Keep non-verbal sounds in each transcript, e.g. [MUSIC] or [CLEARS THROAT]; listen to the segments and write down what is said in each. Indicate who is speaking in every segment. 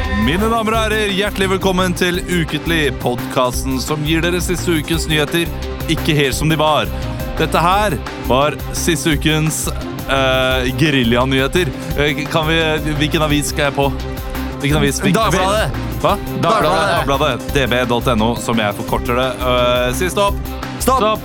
Speaker 1: damer og herrer, hjertelig velkommen til Uketlig, podkasten som gir dere siste ukens nyheter ikke helt som de var. Dette her var siste ukens uh, gerilja-nyheter. Eh, Kan vi, hvilken avis skal jeg på? Hvilken avis? Hvilken avis?
Speaker 2: Dagbladet.
Speaker 1: Hva?
Speaker 2: Dagbladet.
Speaker 1: Dagbladet. DB.no, som jeg forkorter det. Eh, siste opp.
Speaker 2: Stopp!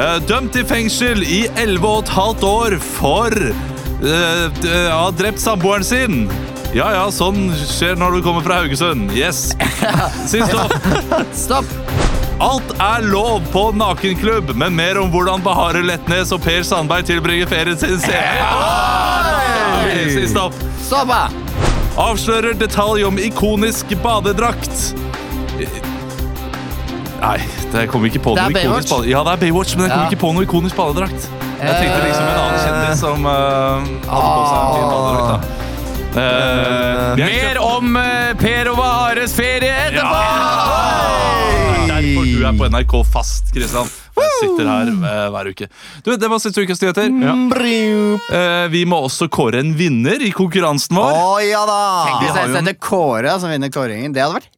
Speaker 1: Eh, dømt til fengsel i 11 og et halvt år for eh, d- eh, å ha drept samboeren sin. Ja ja, sånn skjer når du kommer fra Haugesund. Yes. Sist opp.
Speaker 2: [LAUGHS] Stopp!
Speaker 1: Alt er lov på nakenklubb, men mer om hvordan Bahare Letnes og Per Sandberg tilbringer ferien sin senere. Sist opp.
Speaker 2: Stopp! ja.
Speaker 1: Avslører detalj om ikonisk badedrakt. Nei, det kom ikke på noe
Speaker 2: Det er
Speaker 1: ikonisk
Speaker 2: Baywatch.
Speaker 1: bade- Ja, det er Baywatch, men jeg kom
Speaker 2: Ja.
Speaker 1: ikke på noe ikonisk badedrakt. Jeg tenkte liksom en annen kjendis som eh, hadde på seg en fin badedrakt. da. Eh, vi er ikke-
Speaker 3: Mer om eh, Per og Bahares ferie etterpå!
Speaker 1: Ja! Det er Derfor du er på NRK fast, Kristian. Jeg sitter her eh, hver uke. Du, Det var siste ukes nyheter.
Speaker 2: Mm. Brrrr.
Speaker 1: Eh, vi må også kåre en vinner i konkurransen
Speaker 2: Å
Speaker 1: vår.
Speaker 2: ja da!
Speaker 1: Vi
Speaker 2: Hvis
Speaker 1: har
Speaker 2: jeg
Speaker 1: jo en-
Speaker 2: sender Kåre som vinner kåringen, det hadde vært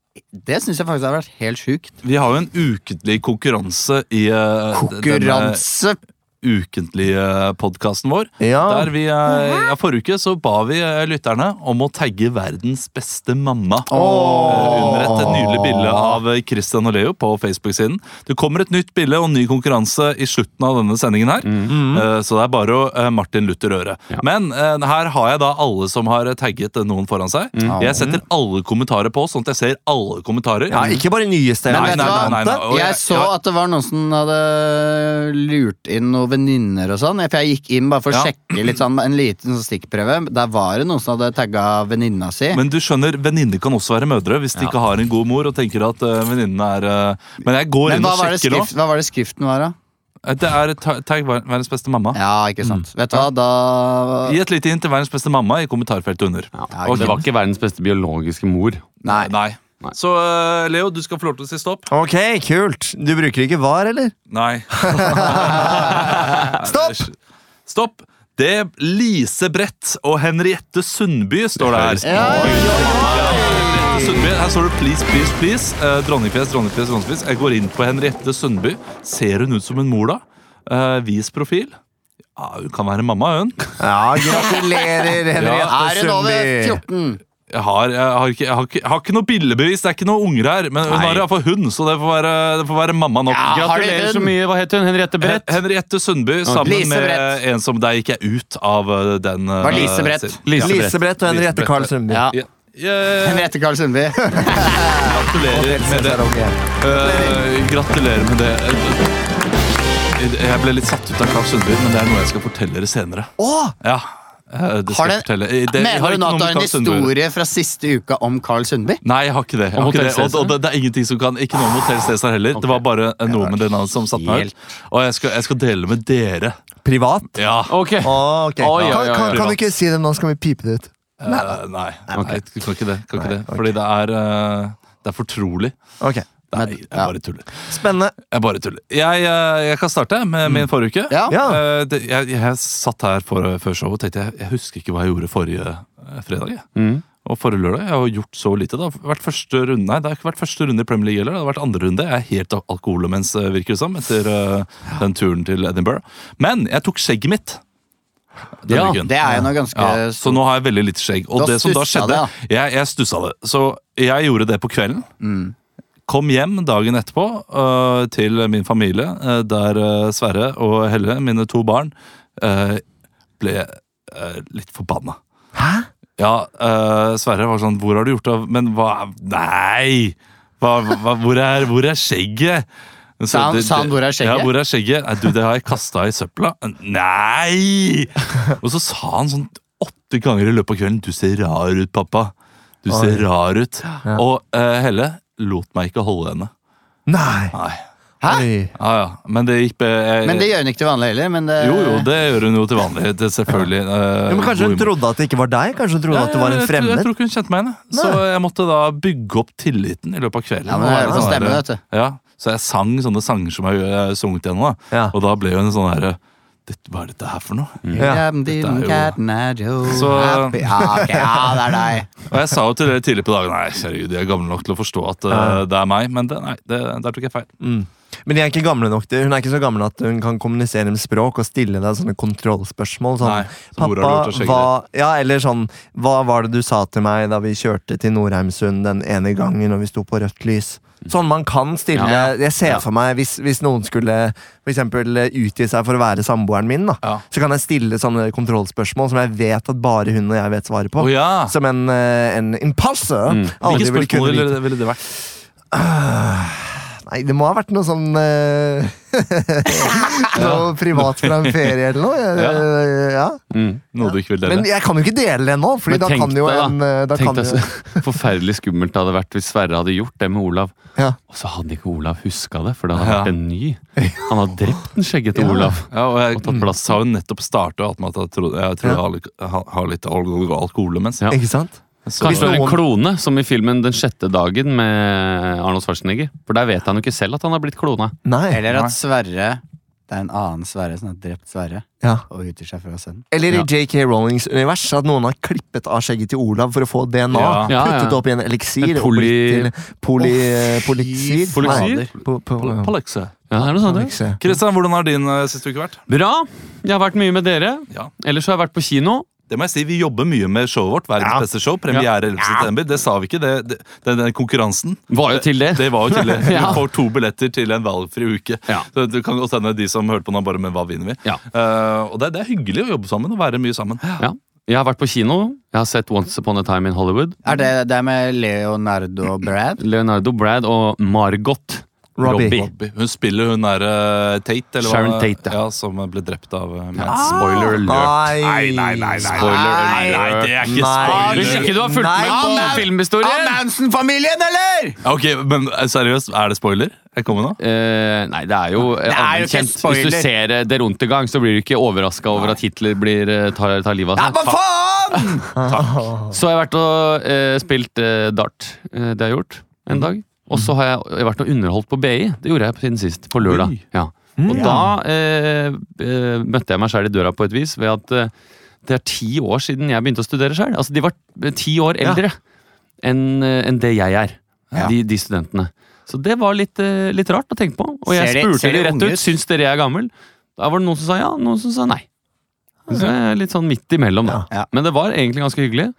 Speaker 2: Det syns jeg faktisk hadde vært helt sjukt.
Speaker 1: Vi har jo en ukentlig konkurranse i eh, denne
Speaker 2: Konkurranse!
Speaker 1: ukentlige podkasten vår.
Speaker 2: Ja.
Speaker 1: Der vi, eh, ja, forrige uke så ba vi eh, lytterne om å tagge verdens beste mamma. Eh, Under et nydelig bilde av eh, Christian og Leo på Facebook-siden. Det kommer et nytt bilde og en ny konkurranse i slutten av denne sendingen her. Eh, Så det er bare å eh, Martin Luther Øre. Men eh, her har jeg da alle som har eh, tagget eh, noen foran seg. Jeg setter alle kommentarer på, sånn at jeg ser alle kommentarer.
Speaker 4: Ja, ikke bare nyeste.
Speaker 2: Men
Speaker 1: Nei,
Speaker 2: vet du
Speaker 1: nei,
Speaker 2: hva?
Speaker 1: nei, nei, nei. Og jeg-
Speaker 2: Jeg så
Speaker 1: ja.
Speaker 2: at det var noen som hadde lurt inn noen venninner og sånn. For jeg gikk inn bare for å
Speaker 1: Ja.
Speaker 2: sjekke litt sånn, en liten sånn stikkprøve. Der var det noen som hadde tagga venninna si.
Speaker 1: Men du skjønner, venninner kan også være mødre hvis de ikke har en god mor og tenker at uh, venninnen er eh, Men jeg går
Speaker 2: Men
Speaker 1: inn
Speaker 2: hva
Speaker 1: og
Speaker 2: var, det
Speaker 1: sjekker nå.
Speaker 2: skrift, hva var det skriften var, da?
Speaker 1: Eh, Det er ta- tagg ver- verdens beste mamma.
Speaker 2: Ja, ikke
Speaker 1: Mm.
Speaker 2: sant. Vet du hva, da
Speaker 1: Gi et lite hint til verdens beste mamma i kommentarfeltet under.
Speaker 2: Ja,
Speaker 3: Og det var ikke verdens beste biologiske mor.
Speaker 2: Nei.
Speaker 1: Nei.
Speaker 3: Nei.
Speaker 1: Så eh, Leo, du skal få lov til å si stopp.
Speaker 4: Ok, kult. Du bruker ikke var, eller?
Speaker 1: Nei.
Speaker 4: Stopp!
Speaker 1: Stopp. Det Lise Brett og Henriette Sundby står det her.
Speaker 2: Ja, ja, ja.
Speaker 1: Henriette Sundby, Her står det 'please, please, please'. Eh, Dronningfjes, dronningfjes, dronningfjes. Jeg går inn på Henriette Sundby. Ser hun ut som en mor, da? Eh, vis profil. Ja, hun kan være mamma, hun.
Speaker 4: Ja, gratulerer,
Speaker 2: Er
Speaker 4: Henriette
Speaker 2: hun over
Speaker 4: Sundby.
Speaker 2: 14?
Speaker 1: Jeg har, jeg, har ikke, jeg, har ikke, jeg har ikke noe bildebevis, det er ikke noen unger her. Men hun
Speaker 3: Nei.
Speaker 1: har iallfall hund, så det får være, det får være mamma nok.
Speaker 2: Ja, har de
Speaker 3: Gratulerer
Speaker 2: hun?
Speaker 3: så mye. Hva het hun? Henriette Brett?
Speaker 1: Hen- Henriette Sundby sammen
Speaker 2: Lise
Speaker 1: med
Speaker 2: Brett.
Speaker 1: en som deg gikk jeg ut av eh, den eh,
Speaker 2: Var Lise Brett?
Speaker 1: serien.
Speaker 3: Lise Brett.
Speaker 4: Lise Brett og
Speaker 1: Lise
Speaker 4: Henriette
Speaker 1: Brett.
Speaker 4: Karl Sundby.
Speaker 2: Ja.
Speaker 1: Ja. Yeah.
Speaker 2: Henriette Karl Sundby.
Speaker 1: Gratulerer med det.
Speaker 4: Ok.
Speaker 1: Eh, gratulerer med det. Jeg ble litt satt ut av Karl Sundby, men det er noe jeg skal fortelle dere senere.
Speaker 2: [LAUGHS]
Speaker 4: Åh,
Speaker 1: Ja, eh, det skal
Speaker 2: Har
Speaker 1: jeg
Speaker 2: den-
Speaker 1: fortelle. Eh, det- jeg har
Speaker 2: Mener
Speaker 1: ikke
Speaker 2: du nå
Speaker 1: noe
Speaker 2: at du
Speaker 1: med
Speaker 2: har en
Speaker 1: Karl Sundby å gjøre.
Speaker 2: historie fra siste uka om Carl Sundby?
Speaker 1: Nei, jeg har ikke det. Jeg
Speaker 3: Om
Speaker 1: har ikke det.
Speaker 3: Hotel
Speaker 1: Og, og det, det er ingenting som kan Ikke noe om Hotell Cæsar heller. Det var bare noe med det navnet som satte meg
Speaker 2: helt-
Speaker 1: ut. Og jeg skal, jeg skal dele med dere.
Speaker 4: Privat?
Speaker 1: Ja. Eh,
Speaker 3: Ok.
Speaker 4: Åh, ok.
Speaker 3: Oi, oi, oi,
Speaker 4: Kan, kan, kan
Speaker 1: privat.
Speaker 4: du ikke si det nå, så kan vi pipe det ut?
Speaker 1: Eh, nei. Nei, jeg kan ikke det. Kan ikke
Speaker 4: Nei,
Speaker 1: det. Fordi det er eh, Det er fortrolig.
Speaker 4: Ok,
Speaker 1: Nei,
Speaker 2: Men-
Speaker 1: jeg
Speaker 2: ja.
Speaker 1: bare tuller.
Speaker 4: Spennende.
Speaker 1: Jeg bare tuller. Jeg, eh, jeg kan starte med min forrige uke.
Speaker 2: Mm. Ja.
Speaker 4: Ja.
Speaker 1: Eh, det, jeg, jeg satt her for, før showet og tenkte jeg, jeg husker ikke hva jeg gjorde forrige eh, fredag. Jeg.
Speaker 2: Mm.
Speaker 1: Og forrige lørdag. Jeg har gjort så lite. Det har vært første runde Nei, det har ikke vært første runde i Premier League heller. Det har vært andre runde. Jeg er helt al- alkoholomens, eh, virker det som, etter eh, den turen til Edinburgh. Men jeg tok skjegget mitt. denne
Speaker 3: Ja,
Speaker 1: uken.
Speaker 2: Det er jo noe ganske
Speaker 1: Ja, så
Speaker 2: stort.
Speaker 1: nå har jeg veldig lite skjegg. Og
Speaker 2: Du har
Speaker 1: det som da
Speaker 2: stussa
Speaker 1: skjedde, jeg, jeg stussa det. Så jeg gjorde det på kvelden. Kom hjem dagen etterpå øh, til min familie, øh, der øh, Sverre og Helle, mine to barn, øh, ble øh, litt forbanna.
Speaker 4: Hæ?
Speaker 1: Ja, øh, Sverre var sånn 'Hvor har du gjort av Men hva Nei! Hva, hva, hvor, er, hvor er skjegget? Så
Speaker 2: Sa han-
Speaker 1: det-
Speaker 2: sa han,
Speaker 1: det-
Speaker 2: 'Hvor er skjegget?'
Speaker 1: Ja, 'Hvor er skjegget?' Nei, du, det har jeg kasta i søpla. Nei! Og så sa han sånn åtte ganger i løpet av kvelden 'Du ser rar ut, pappa'. Du ser rar ut. Og eh, Helle lot meg ikke holde henne.
Speaker 4: Nei.
Speaker 1: Nei.
Speaker 2: Hæ?
Speaker 4: Oi.
Speaker 1: Ja, ja. Men det gikk be- jeg-
Speaker 2: Men det gjør hun ikke til vanlig heller. Men det,
Speaker 1: Jo, jo, det gjør hun jo til vanlig. Det er selvfølgelig. eh,
Speaker 4: Ja, men kanskje
Speaker 1: god
Speaker 4: hun
Speaker 1: humor.
Speaker 4: trodde at det ikke var deg? Kanskje hun trodde Sånn at det var en
Speaker 1: Jeg- jeg- Jeg, jeg
Speaker 4: fremmed?
Speaker 1: tror ikke hun kjente meg igjen. jeg. Så
Speaker 4: Nei.
Speaker 1: jeg måtte da bygge opp tilliten i løpet av kvelden.
Speaker 2: Ja, men
Speaker 1: Og
Speaker 2: det er
Speaker 1: være
Speaker 2: jo
Speaker 1: sånn
Speaker 2: stemmen,
Speaker 1: der-
Speaker 2: vet du.
Speaker 1: Ja, så jeg sang sånne sanger som jeg har eh, sunget igjen nå. da.
Speaker 4: Ja. Mm.
Speaker 1: Og da ble hun sånn herre det, Hva er dette her for noe?
Speaker 4: Ja.
Speaker 2: I'm the
Speaker 1: Dette er jo-
Speaker 2: cat and I do
Speaker 1: Så-
Speaker 2: happy. ja, ok, ja, det er deg.
Speaker 1: Og jeg sa jo til dere tidlig på dagen Nei, herregud, jeg er gammel nok til å forstå at eh, det er meg. Men det, nei, det, der tok jeg feil.
Speaker 4: Men de er ikke gamle nok til, hun er ikke så gammel at hun kan kommunisere med språk og stille deg sånne kontrollspørsmål. Sånn,
Speaker 1: Nei, så mora
Speaker 4: pappa,
Speaker 1: lurte og skjegget
Speaker 4: hva, ja, eller sånn, hva var det du sa til meg da vi kjørte til Norheimsund den ene gangen og vi sto på rødt lys? Sånn man kan stille,
Speaker 3: Ja.
Speaker 4: jeg ser for meg hvis, hvis noen skulle for eksempel utgi seg for å være samboeren min, da,
Speaker 1: Ja.
Speaker 4: så kan jeg stille sånne kontrollspørsmål som jeg vet at bare hun og jeg vet svaret på.
Speaker 1: Å ja! Mm.
Speaker 4: Som en, eh, en imposter. Aldri
Speaker 1: Hvilke
Speaker 4: ville kunne
Speaker 1: spørsmål
Speaker 4: vite.
Speaker 1: ville, ville det vært?
Speaker 4: Nei, det må ha vært noe sånn eh, [LAUGHS] Noe privat fra en ferie eller noe. Jeg, eh, ja.
Speaker 1: Noe du ikke vil dele?
Speaker 4: Men jeg kan jo ikke dele det nå, Fordi
Speaker 3: Men
Speaker 4: da
Speaker 3: tenk
Speaker 4: kan jo
Speaker 3: deg, da.
Speaker 4: en eh, da
Speaker 3: Tenk
Speaker 4: kan
Speaker 3: deg
Speaker 4: jo,
Speaker 3: så [LAUGHS] forferdelig skummelt det hadde vært hvis Sverre hadde gjort det med Olav.
Speaker 4: Ja.
Speaker 3: Og så hadde ikke Olav huska det, for det hadde
Speaker 1: Ja.
Speaker 3: vært en ny. Han hadde drept den
Speaker 4: [LAUGHS]
Speaker 3: skjeggete Olav.
Speaker 1: Ja, og jeg
Speaker 3: Og tatt plass.
Speaker 1: sa jo nettopp starta med at jeg tror jeg, tror jeg
Speaker 4: Ja.
Speaker 1: har litt- har, har litt alkohol- alkohol imens.
Speaker 3: Ja.
Speaker 4: Ikke sant?
Speaker 1: Så-
Speaker 3: Kanskje det var en
Speaker 4: noen-
Speaker 3: klone, som i filmen Den sjette dagen med Arnold Schwarzenegger. For der vet han jo ikke selv at han har blitt klona.
Speaker 4: Nei.
Speaker 2: Eller
Speaker 1: Nei.
Speaker 2: at Sverre Det er en annen Sverre som har drept Sverre
Speaker 4: Ja.
Speaker 2: og utgir seg fra sønnen.
Speaker 4: Eller i JK Rowlings univers at noen har klippet av skjegget til Olav for å få DNA.
Speaker 1: Ja.
Speaker 3: Ja, ja.
Speaker 4: Puttet det opp i en eliksir.
Speaker 3: En
Speaker 4: og
Speaker 3: poly-
Speaker 4: blitt til Poly... poliksir?
Speaker 3: Poliksir?
Speaker 4: Nei, po- eh, po-
Speaker 1: Palekse.
Speaker 3: Ja, det er noe sånt,
Speaker 4: Polikse.
Speaker 1: Kristian, hvordan har din eh, siste uke vært?
Speaker 3: ja. Bra! Jeg har vært mye med dere.
Speaker 1: Ja.
Speaker 3: Ellers har jeg vært på kino.
Speaker 1: Det må jeg si, Vi jobber mye med showet vårt. Verdens
Speaker 3: Ja.
Speaker 1: beste show. Premiere 11. september. Det sa vi ikke, det, det, den, den konkurransen.
Speaker 3: Var jo til det.
Speaker 1: Det var jo
Speaker 3: [LAUGHS]
Speaker 1: tydelig.
Speaker 3: Ja.
Speaker 1: Du får to billetter til en valgfri uke.
Speaker 3: Ja.
Speaker 1: Så du kan godt hende de som hørte på nå, bare Men hva vinner vi?
Speaker 3: Ja.
Speaker 1: Eh, og det, det er hyggelig å jobbe sammen og være mye sammen.
Speaker 3: Ja. Jeg har vært på kino. Jeg har sett Once Upon a Time in Hollywood.
Speaker 2: Er det, det er med Leonardo
Speaker 1: [LAUGHS]
Speaker 2: Brad?
Speaker 3: Leonardo Brad og Margot
Speaker 4: Robbie.
Speaker 3: [GASPS] Robbie.
Speaker 1: Robbie. Hun spiller hun derre Tate, eller
Speaker 3: Sharon
Speaker 1: hva?
Speaker 3: Tate, ja. Ah!
Speaker 1: ja. Som ble drept av eh, Manson.
Speaker 3: Spoiler alert.
Speaker 4: Nei,
Speaker 3: Spoiler alert.
Speaker 1: Nei, det er ikke
Speaker 4: Nei.
Speaker 1: spoiler.
Speaker 3: Hvis ikke du har fulgt
Speaker 4: Nei,
Speaker 3: med på
Speaker 4: Bob.
Speaker 2: Av
Speaker 3: filmhistorien
Speaker 2: Manson-familien, eller?!
Speaker 1: Ok, men eh, seriøst, er det spoiler? Jeg kommer nå?
Speaker 3: Eh, nei, det er jo eh,
Speaker 2: Det er jo ikke
Speaker 3: allment kjent. Hvis du
Speaker 2: spoiler.
Speaker 3: ser eh, Der Untergang, så blir du ikke overraska over at Hitler blir, eh, tar, tar livet
Speaker 2: Ja,
Speaker 3: av
Speaker 2: hva
Speaker 3: seg.
Speaker 2: faen?!
Speaker 3: Så har jeg vært og eh, spilt eh, dart. Eh, det har jeg gjort
Speaker 2: Mm.
Speaker 3: en dag. Og så har jeg, jeg har vært og underholdt på BI. Det gjorde jeg siden sist. På lørdag.
Speaker 1: Oi.
Speaker 3: Ja.
Speaker 2: Mm.
Speaker 3: Og da eh, eh, møtte jeg meg sjøl i døra på et vis ved at eh, det er ti år siden jeg begynte å studere sjøl. Altså, de var eh, ti år eldre enn eh, enn det jeg er.
Speaker 2: Ja.
Speaker 3: De, de studentene. Så det var litt, eh, litt rart å tenke på. Og jeg
Speaker 2: Ser de-
Speaker 3: spurte
Speaker 2: ser de
Speaker 3: de rett
Speaker 2: unge ut?
Speaker 3: ut syns dere jeg er gammel. Da var det noen som sa ja, noen som sa nei. Så jeg er litt sånn midt imellom, da.
Speaker 2: Ja. Ja.
Speaker 3: Men det var egentlig ganske hyggelig.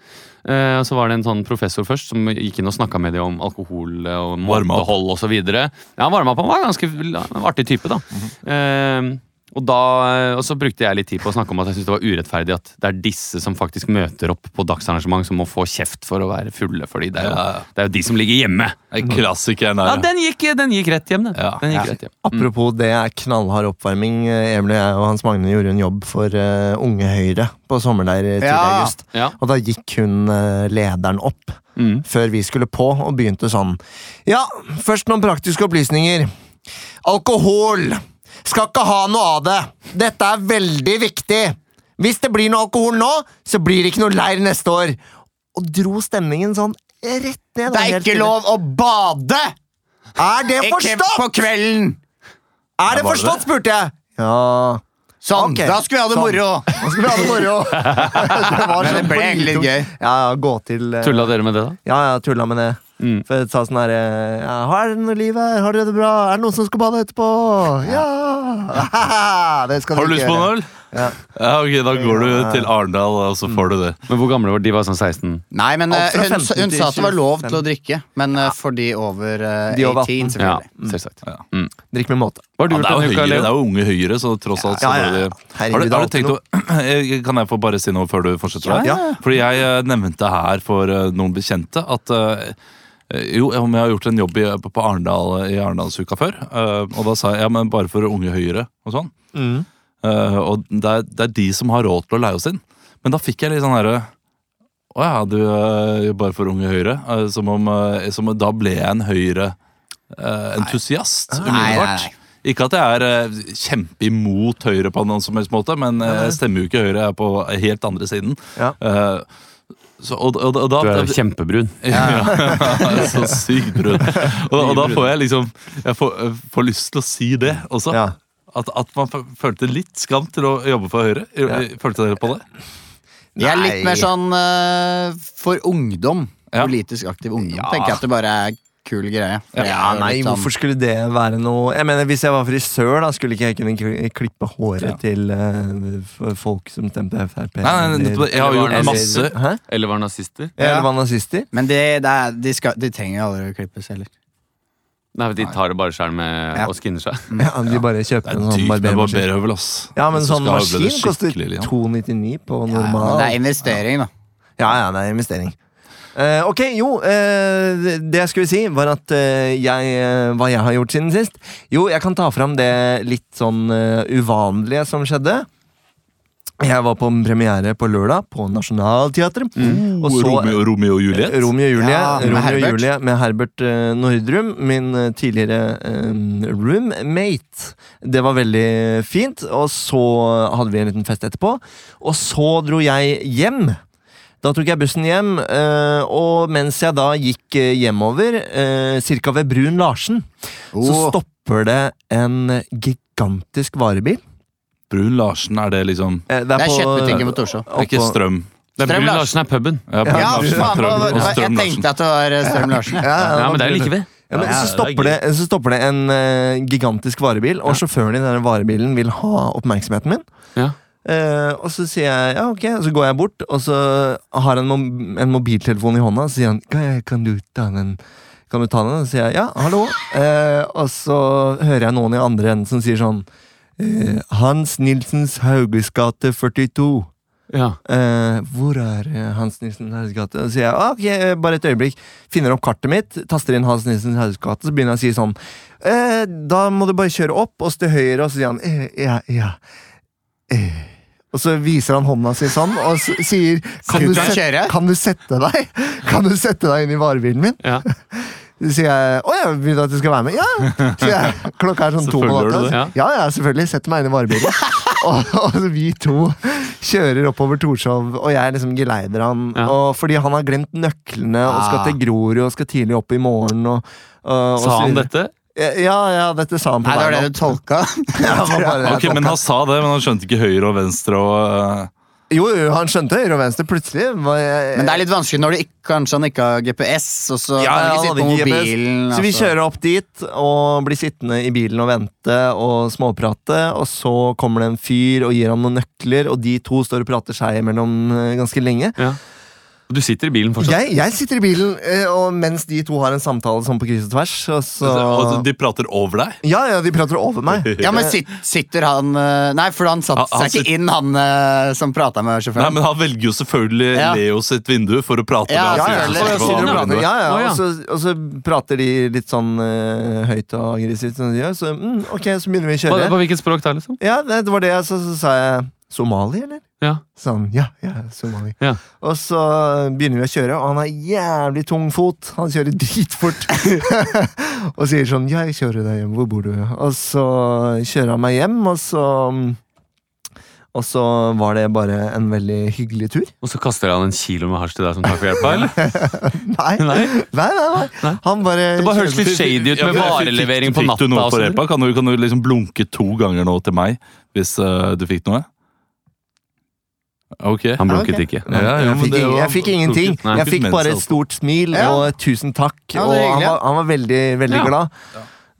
Speaker 3: Eh, og så var det en sånn professor først som gikk inn og snakka med dem om alkohol eh, og
Speaker 1: Varma opp.
Speaker 3: måtehold osv. Ja, han varma opp. Han var en ganske l- en artig type, da.
Speaker 1: Mhm.
Speaker 3: Eh, og, da eh, og så brukte jeg litt tid på å snakke om at jeg syntes det var urettferdig at det er disse som faktisk møter opp på dagsarrangement, som må få kjeft for å være fulle, fordi det er jo,
Speaker 1: Ja.
Speaker 3: det er jo de som ligger hjemme.
Speaker 1: Eh, Klassikeren
Speaker 3: Ja,
Speaker 1: er
Speaker 3: den gikk, den gikk rett hjem, den.
Speaker 1: Ja.
Speaker 3: den
Speaker 4: Ja.
Speaker 3: gikk rett hjem.
Speaker 4: Apropos det er knallhard oppvarming. eh, Emil og jeg og Hans Magne gjorde en jobb for eh, Unge Høyre på sommerleir tidlig i
Speaker 2: Ja.
Speaker 4: august.
Speaker 3: Ja.
Speaker 4: Og da gikk hun eh, lederen opp
Speaker 3: Mm.
Speaker 4: før vi skulle på, og begynte sånn Ja, først noen praktiske opplysninger. Alkohol! Skal ikke ha noe av det. Dette er veldig viktig. Hvis det blir noe alkohol nå, så blir det ikke noe leir neste år. Og dro stemningen sånn rett ned.
Speaker 2: Det er
Speaker 4: helt
Speaker 2: ikke
Speaker 4: stille.
Speaker 2: lov å bade!
Speaker 4: Er det
Speaker 2: Ikke på
Speaker 4: forstått?!
Speaker 2: kvelden!
Speaker 4: Er
Speaker 1: var det
Speaker 4: det
Speaker 1: det?
Speaker 4: forstått, spurte jeg. Ja
Speaker 2: Sånn,
Speaker 4: Ok,
Speaker 2: da skulle vi ha det
Speaker 4: sånn.
Speaker 2: moro!
Speaker 4: Nå skal vi ha det moro! det var
Speaker 2: Men det
Speaker 4: sånn
Speaker 2: ble egentlig litt
Speaker 4: politisk-
Speaker 2: gøy.
Speaker 4: Ja, ja, gå til eh,
Speaker 3: Tulla dere med det, da?
Speaker 4: Ja, ja, tulla med det.
Speaker 3: Mm.
Speaker 4: For jeg sa sånn herre ja, Har dere noe liv her? Har dere det bra? Er det noen som skal bade etterpå? Ja! [LAUGHS] det skal
Speaker 1: Har du
Speaker 4: dere
Speaker 1: lyst
Speaker 4: ikke
Speaker 1: på en
Speaker 4: gjøre.
Speaker 1: øl?
Speaker 4: Ja.
Speaker 1: Ja, ok, da går du til Arendal, og så får du det.
Speaker 3: Men hvor gamle var de? De var sånn 16?
Speaker 2: Nei, men
Speaker 4: Alt
Speaker 2: eh,
Speaker 4: fra
Speaker 2: hun,
Speaker 4: 15
Speaker 2: hun
Speaker 4: til
Speaker 2: sa at det var lov til å
Speaker 4: 25.
Speaker 2: drikke. Men eh, for de over eh,
Speaker 4: De over 18,
Speaker 2: 18,
Speaker 3: Ja,
Speaker 2: selvfølgelig.
Speaker 3: selvsagt.
Speaker 1: Ja.
Speaker 4: Drikk med måte.
Speaker 3: Hva har du
Speaker 1: Ja, det,
Speaker 3: gjort
Speaker 1: er jo
Speaker 3: denne uka,
Speaker 1: høyere, det
Speaker 3: Leo?
Speaker 1: er jo unge høyere, så tross alt så
Speaker 4: Ja, ja, ja.
Speaker 1: ble det- Har du,
Speaker 4: Herregud,
Speaker 1: har du
Speaker 4: det er
Speaker 1: tenkt å, [LAUGHS] Jeg- Kan jeg få bare si noe før du fortsetter?
Speaker 4: Ja,
Speaker 1: her? Fordi jeg eh, nevnte her for eh, noen bekjente at eh, jo, om jeg har gjort en jobb i, på Arendal eh, i Arendalsuka før. eh, og da sa jeg ja, men bare for unge høyere og sånn.
Speaker 4: Mm.
Speaker 1: Eh, og det er, det er de som har råd til å leie oss inn. Men da fikk jeg litt sånn herre Å ja, du eh, jobber bare for unge høyre. Eh, som om eh, som, om- Da ble jeg en Høyre-entusiast
Speaker 2: Nei, nei,
Speaker 1: umiddelbart.
Speaker 2: nei.
Speaker 1: Ikke at jeg er eh, kjempeimot Høyre på noen som helst måte, men eh, jeg stemmer jo ikke Høyre. Jeg er på helt andre siden.
Speaker 4: Ja.
Speaker 1: Eh, så, og, og, og da,
Speaker 3: Du er jo kjempebrun.
Speaker 1: [LAUGHS] ja, [LAUGHS] så eh, sykt brun. Og, og da får jeg liksom Jeg får, jeg får lyst til å si det også.
Speaker 4: Ja.
Speaker 1: At, at man f- følte litt skam til å jobbe for Høyre? I- Følte dere på det?
Speaker 2: Jeg er litt
Speaker 4: Nei.
Speaker 2: mer sånn eh, for ungdom.
Speaker 1: Ja.
Speaker 2: Politisk aktiv ungdom. Tenker jeg at det bare er kul greie. For jeg
Speaker 4: Ja,
Speaker 2: er jo
Speaker 4: nei,
Speaker 2: litt sånn-
Speaker 4: hvorfor skulle det være noe Jeg mener, Hvis jeg var frisør, da skulle ikke jeg kunne kli- klippe håret
Speaker 1: Ja.
Speaker 4: til eh, f- folk som stemte Frp.
Speaker 1: Nei, nei,
Speaker 4: eller-
Speaker 1: nettopp det. jeg har jo
Speaker 3: Eller
Speaker 1: gjort
Speaker 4: eller-
Speaker 1: masse
Speaker 4: Hæ?
Speaker 3: Eller var nazister?
Speaker 4: Eller
Speaker 2: Ja.
Speaker 4: var nazister?
Speaker 2: Men det, det er, de, skal, de trenger jo aldri å klippes heller.
Speaker 3: Nei, De tar det bare sjøl med
Speaker 2: Ja.
Speaker 3: å skinne seg.
Speaker 4: Ja, de bare kjøper
Speaker 1: Det er
Speaker 4: en sånn
Speaker 1: dyrt med
Speaker 4: barbermaskin.
Speaker 1: barberhøvel, ass.
Speaker 4: Ja, men
Speaker 1: Hvis du
Speaker 4: sånn
Speaker 1: skal høvle det
Speaker 4: maskin koster
Speaker 1: skikkelig, Lian.
Speaker 4: 299 på
Speaker 2: Ja, men
Speaker 4: normal.
Speaker 2: det er investering, da.
Speaker 4: Ja, ja, det er investering. Eh, ok, jo. eh, det- det jeg skulle si, var at eh, jeg, eh, hva jeg har gjort siden sist. Jo, jeg kan ta fram det litt sånn eh, uvanlige som skjedde. Jeg var på en premiere på lørdag på Nationaltheatret.
Speaker 2: Mm.
Speaker 4: Og så eh,
Speaker 1: Romeo, Romeo og Juliet?
Speaker 4: Romeo og Julie,
Speaker 2: Ja, med
Speaker 4: Romeo og
Speaker 2: Herbert.
Speaker 4: Julie med Herbert eh, Nordrum, min eh, tidligere eh, roommate. Det var veldig fint, og så hadde vi en liten fest etterpå. Og så dro jeg hjem. Da tok jeg bussen hjem, eh, og mens jeg da gikk eh, hjemover, ca. ved Brun Larsen, så
Speaker 2: Åh.
Speaker 4: stopper det en gigantisk varebil.
Speaker 1: Brun Larsen, er det liksom
Speaker 4: Eh,
Speaker 2: Det er kjøttbutikken på Torshov.
Speaker 1: Det er ikke
Speaker 4: oppå-
Speaker 1: Strøm.
Speaker 3: Det er
Speaker 2: Strøm
Speaker 3: Brun
Speaker 2: Larsen.
Speaker 3: Larsen er puben.
Speaker 1: Ja, Brun
Speaker 4: Ja,
Speaker 1: Larsen er
Speaker 2: faen,
Speaker 1: Trøm,
Speaker 2: hva-
Speaker 1: og
Speaker 2: hva-
Speaker 1: Strøm
Speaker 2: jeg
Speaker 1: Larsen.
Speaker 2: tenkte at det var eh, Strøm Larsen. jeg.
Speaker 4: Ja,
Speaker 3: Ja, men det er jo
Speaker 4: Brun-
Speaker 3: like ved.
Speaker 4: Ja, men
Speaker 1: Ja,
Speaker 4: så,
Speaker 1: det er
Speaker 4: stopper det,
Speaker 1: gøy.
Speaker 4: så stopper det en eh, gigantisk varebil, og sjåføren i denne varebilen vil ha oppmerksomheten min.
Speaker 3: Ja.
Speaker 4: Eh, og så sier jeg ja, ok, og så går jeg bort, og så har han en, mo- en mobiltelefon i hånda, og så sier han kan, jeg, kan du ta den? Kan du ta den? Og så sier jeg ja, hallo. Eh, og så hører jeg noen i andre enden som sier sånn eh, Hans Nilsens Hauges gate 42.
Speaker 3: Ja.
Speaker 4: Eh, hvor er eh, Hans Nilsen Hauges gate? Og så sier jeg ah, ok, eh, bare et øyeblikk. Finner opp kartet mitt, taster inn Hans Nilsen Hauges gate, så begynner jeg å si sånn eh, Da må du bare kjøre opp, og så til høyre, og så sier han eh, ja, ja. Eh. Og så viser han hånda si sånn og s- sier kan
Speaker 2: Skal
Speaker 4: du,
Speaker 2: du
Speaker 4: sette,
Speaker 2: kjøre?»
Speaker 4: kan du sette deg [LAUGHS] Kan du sette deg inn i varebilen min?
Speaker 3: ja.
Speaker 4: Så sier jeg å jeg vil du at du skal være med. Ja! Så jeg, klokka er sånn to på
Speaker 1: Selvfølgelig gjør
Speaker 4: natta.
Speaker 1: du det.
Speaker 4: så- Ja, ja, selvfølgelig. Setter meg inn i
Speaker 1: [LAUGHS]
Speaker 4: varebilen. og, og vi to kjører oppover Torshov, og jeg liksom geleider han.
Speaker 3: Ja.
Speaker 4: Og fordi han har glemt nøklene og skal
Speaker 2: Ah.
Speaker 4: til Grorud og skal tidlig opp i morgen. Og, og- og
Speaker 3: Sa
Speaker 4: så
Speaker 3: han
Speaker 4: videre.
Speaker 3: dette?
Speaker 4: Ja, ja, dette sa han på
Speaker 2: Nei, det var det
Speaker 4: veien
Speaker 2: du tolka.
Speaker 4: [LAUGHS] opp.
Speaker 1: Ok, Men han sa det, men han skjønte ikke høyre og venstre og eh,
Speaker 4: Jo, jo, han skjønte høyre og venstre. Plutselig var jeg
Speaker 2: Men det er litt vanskelig når du ikke, kanskje han ikke har GPS, og så kan
Speaker 4: Ja, ja,
Speaker 2: han ikke
Speaker 4: han
Speaker 2: sitte på
Speaker 4: hadde ikke GPS.
Speaker 2: mobilen.
Speaker 4: Så vi
Speaker 2: altså.
Speaker 4: kjører opp dit og blir sittende i bilen og vente og småprate, og så kommer det en fyr og gir ham noen nøkler, og de to står og prater seg imellom eh, ganske lenge.
Speaker 3: Ja. Og Du sitter i bilen fortsatt?
Speaker 4: Jeg, jeg sitter i bilen, eh, og mens de to har en samtale sånn på kryss og tvers, og så
Speaker 1: Og Altså, de prater over deg?
Speaker 4: Ja, ja, de prater over meg.
Speaker 2: Ja, men sit, sitter han eh, Nei, for han satte
Speaker 1: Han- han
Speaker 2: seg
Speaker 1: sitter-
Speaker 2: ikke inn, han eh, som prata med
Speaker 1: Nei,
Speaker 2: sjåføren.
Speaker 1: men Han velger jo selvfølgelig
Speaker 2: Ja.
Speaker 1: Leo sitt vindu for å prate
Speaker 2: Ja,
Speaker 1: med
Speaker 4: Ja,
Speaker 1: han
Speaker 4: ja,
Speaker 1: fyren
Speaker 2: selvfølgelig.
Speaker 1: som
Speaker 4: så
Speaker 1: sitter
Speaker 4: jeg
Speaker 1: på
Speaker 4: sitter og
Speaker 1: andre
Speaker 4: prater.
Speaker 1: vinduet.
Speaker 4: ja, ja.
Speaker 3: Å, ja.
Speaker 4: Og, så, og så prater de litt sånn eh, høyt og aggressivt som de gjør. Så, mm, ok, så begynner vi å
Speaker 3: På,
Speaker 4: kjøre.
Speaker 3: på hvilket språk da, liksom?
Speaker 4: Ja, det, det var det jeg sa. Så sa jeg Somali, eller?
Speaker 3: Ja.
Speaker 4: Sånn, ja, ja, Somali.
Speaker 3: Ja.
Speaker 4: Og så begynner vi å kjøre, og han har jævlig tung fot. Han kjører dritfort. [LAUGHS] og sier sånn 'Jeg kjører deg hjem. Hvor bor du?' Og så kjører han meg hjem, og så Og så var det bare en veldig hyggelig tur. [LAUGHS]
Speaker 3: Og så kaster han en kilo med hasj til deg som takk for hjelpa? eller?
Speaker 4: Nei, nei,
Speaker 3: Nei?
Speaker 4: nei. nei,
Speaker 3: Nei.
Speaker 4: Han bare
Speaker 3: Det bare høres litt shady ut
Speaker 1: Ja,
Speaker 3: med
Speaker 1: men
Speaker 3: varelevering
Speaker 1: fikk-
Speaker 3: på natta.
Speaker 1: Fikk du noe
Speaker 3: og
Speaker 1: på
Speaker 3: sånn.
Speaker 1: repa? Kan du, kan du liksom blunke to ganger nå til meg hvis eh, du fikk noe? Ok.
Speaker 3: Han
Speaker 4: Ja,
Speaker 3: blunket
Speaker 4: ok.
Speaker 3: ikke.
Speaker 1: Ja, ja,
Speaker 4: jeg,
Speaker 1: men
Speaker 4: fikk
Speaker 1: det
Speaker 4: ingen,
Speaker 1: var-
Speaker 4: jeg fikk ingenting.
Speaker 1: Nei,
Speaker 4: Jeg fikk
Speaker 1: mens,
Speaker 4: bare
Speaker 1: altså.
Speaker 4: et stort smil
Speaker 2: Ja.
Speaker 4: og et tusen takk.
Speaker 2: Ja, det var
Speaker 4: og han
Speaker 2: hyggelig,
Speaker 4: var, han var veldig, veldig
Speaker 3: Ja.
Speaker 4: glad.